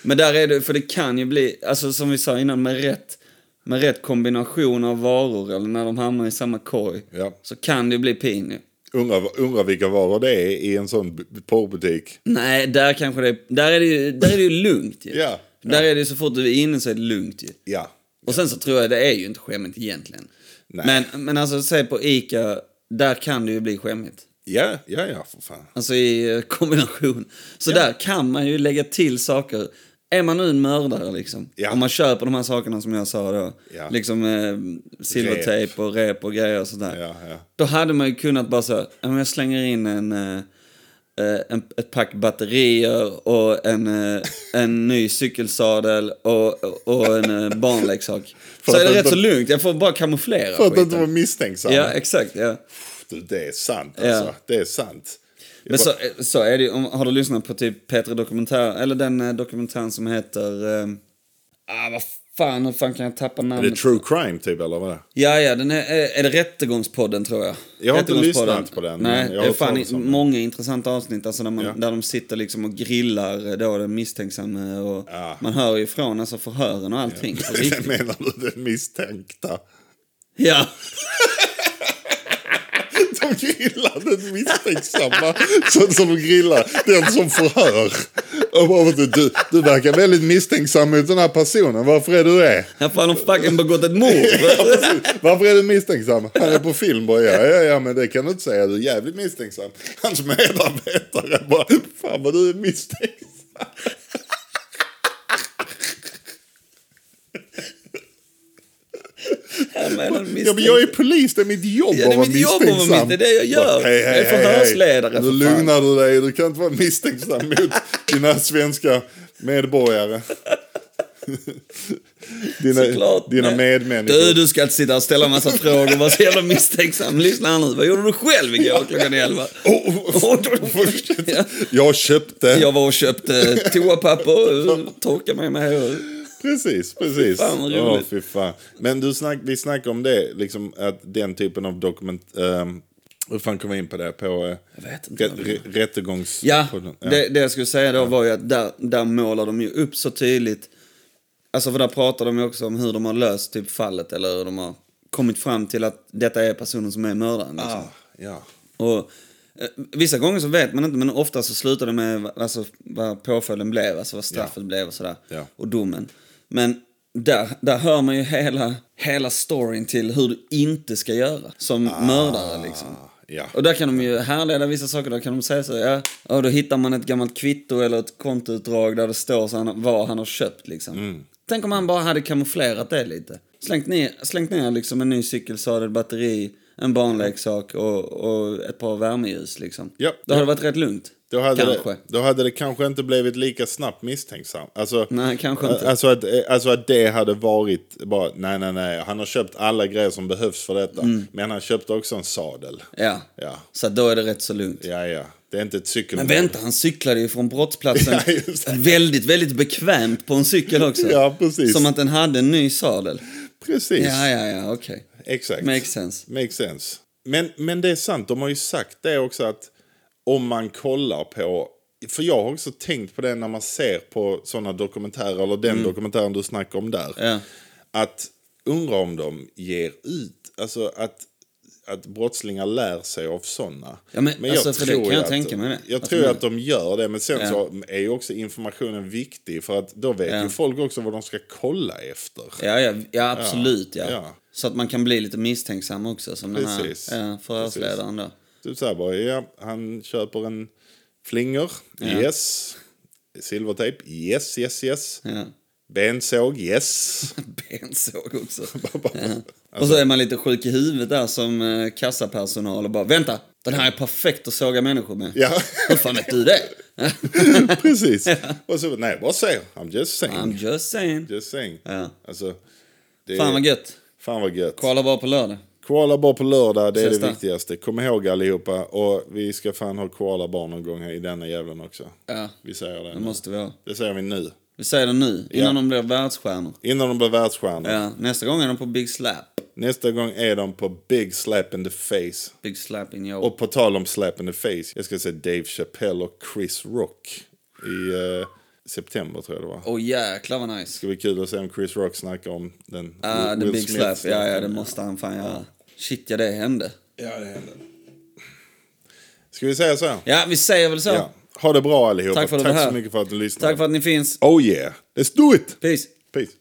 Men där är det, för det kan ju bli, alltså som vi sa innan, med rätt, med rätt kombination av varor eller när de hamnar i samma korg Ja. så kan det ju bli pin ju. Undrar, undrar vilka varor det är i en sån b- porrbutik. Nej, där kanske det, där är det ju, där är det ju lugnt ju. Ja, Där är det ju så fort du är inne så är det lugnt ju. Ja. Och sen så tror jag det är ju inte skämmigt egentligen. Nej. Men, men alltså säg på ICA, där kan det ju bli skämmigt. Ja, ja, ja, för fan. Alltså i eh, kombination. Så där kan man ju lägga till saker. Är man nu en mördare liksom, Ja. om man köper de här sakerna som jag sa då, Ja. liksom eh, silvertejp och rep och grejer och sådär. Ja, ja. Då hade man ju kunnat bara så, här, "Ja, men jag slänger in en, eh, eh, en, ett pack batterier och en, eh, en ny cykelsadel och, och en eh, barnleksak. så att är det inte- rätt så lugnt, jag får bara kamouflera För att skiten. inte vara misstänksam. Ja, exakt. Ja. Du, Det är sant alltså. Ja. Det är sant. Men så, eh, så är det ju, om, har du lyssnat på typ Petra Dokumentär, eller den eh, dokumentären som heter... Eh, ah, vad fan, hur fan kan jag tappa Är det namnet? true crime typ eller vad det är? Ja, ja, den är, eh, är det Rättegångspodden tror jag. Jag har inte Rättegångspodden. lyssnat på den, Nej, men jag har det är hört fan talas om den. många intressanta avsnitt alltså, där, man, Ja. där de sitter liksom och grillar eh, då den misstänksamme och Ja. man hör ju ifrån alltså förhören och allting. på riktigt. Menar du den misstänkta? Ja. De grillar den misstänksamma. Så som de grillar den som förhör. Och bara, du, du, du verkar väldigt misstänksam mot den här personen. Varför är du det? ja, fan, de har fucking begått ett mord. Ja, precis. Varför är du misstänksam? Han är på film bara. Ja, ja, ja, men det kan du inte säga. Du är jävligt misstänksam. Hans medarbetare bara. Fan vad du är misstänksam. Ja, men den Ja, men jag är polis. Det är mitt jobb Ja, det är att vara mitt jobb att misstänksam. vara mitt- det är det jag gör. Bara, Jag är förhörsledare, Nu för fan. lugnar du dig. Du kan inte vara misstänksam mot dina svenska medborgare. Dina, Såklart. dina Nej. medmänniskor. Du, du ska inte sitta och ställa en massa frågor och vara så jävla misstänksam. Lyssna här nu, vad gjorde du själv igår klockan elva? Oh, oh, oh, Ja. jag köpte. Jag var och köpte eh, toapapper och torkade mig med. och- Precis, precis. fan, vad roligt. Åh, fy fan. Men du snack, vi snackade om det, liksom att den typen av dokument... ehm, hur fan kom vi in på det? På eh, vet inte. rä, rä, rättegångs... Ja, podden. Ja. det, det jag skulle säga då var ju att där, där målar de ju upp så tydligt. Alltså för där pratar de ju också om hur de har löst typ fallet eller hur de har kommit fram till att detta är personen som är mördaren. Liksom. Ah, ja. Och, eh, vissa gånger så vet man inte, men ofta så slutar det med va- alltså, vad påföljden blev, alltså vad straffet blev och sådär. Ja. Och domen. Men där, där hör man ju hela, hela storyn till hur du inte ska göra som Ah. mördare. Liksom. ja. Och där kan de ju härleda vissa saker. Där kan de säga så här, ja, ja, då hittar man ett gammalt kvitto eller ett kontoutdrag där det står så han, vad han har köpt. Liksom. Mm. Tänk om han bara hade kamouflerat det lite. Slängt ner, slängt ner liksom en ny cykelsadel, batteri, en barnleksak och, och ett par värmeljus. Liksom. Ja. Då hade det varit rätt lugnt. Då hade, kanske. det, då hade det kanske inte blivit lika snabbt misstänksam. Alltså, Nej, kanske inte. Alltså att, alltså att det hade varit bara, nej, nej, nej. Han har köpt alla grejer som behövs för detta. Mm. Men han köpte också en sadel. Ja. Ja, Så att då är det rätt så lugnt. ja. ja. Det är inte ett cykelmål. Men vänta, han cyklade ju från brottsplatsen Ja, just det. väldigt, väldigt bekvämt på en cykel också. Ja, precis. Som att den hade en ny sadel. Precis. Ja, ja, ja, okej. Exakt. Makes sense. Makes sense. Men, men det är sant, de har ju sagt det också att om man kollar på... För jag har också tänkt på det när man ser på sådana dokumentärer, eller Mm. den dokumentären du snackar om där. Ja. Att undra om de ger ut, alltså att... att brottslingar lär sig av sådana. Ja, men alltså, för det kan jag tänka mig det. Jag Att tror man- att de gör det, men sen Ja. så är ju också informationen viktig för att då vet Ja. ju folk också vad de ska kolla efter. Ja, ja, ja absolut. Ja. ja. Så att man kan bli lite misstänksam också, som Precis. den här ja, förhörsledaren. Då. Typ så här bara, ja, han köper en flingor, yes. Silvertejp, yes, yes, yes. Ja. Bensåg, yes. Bensåg också. alltså- Och så är man lite sjuk i huvudet där som eh, kassapersonal och bara vänta, den här är perfekt att såga människor med. ja, Hur fan vet du det? precis. Och så, nej, vad säger I'm just saying. I'm just saying. just saying. Ja. Alltså, det, Fan vad gött. fan vad gött. Kolla bara på lördag. Koala bara på lördag, det är Ses det där. viktigaste. Kom ihåg allihopa. Och vi ska fan ha koala barn någon gång här i denna jävlen också. Ja, Vi säger det. det nu. måste vi ha. Det säger vi nu. Vi säger det nu, innan Ja. de blir världsstjärnor. Innan de blir världsstjärnor. Ja, nästa gång är de på Big Slap. Nästa gång är de på Big Slap in the Face. Big Slap in your... Och på tal om Slap in the Face. Jag ska se Dave Chappelle och Chris Rock i eh, september tror jag det var. Åh Oh, jäklar vad nice. Det ska bli kul att se om Chris Rock snackar om den Ja, Will- Ah, the Will Big Smith Slap. Ja, ja, det snacken. måste han fan göra. Shit, ja det hände. Ja, det händer. Ska vi säga så? Ja. Ja, vi säger väl så. Ha det bra allihopa. Tack för att du var här. så mycket för att du lyssnade. Tack för att ni finns. Oh yeah, let's do it! Peace. Peace.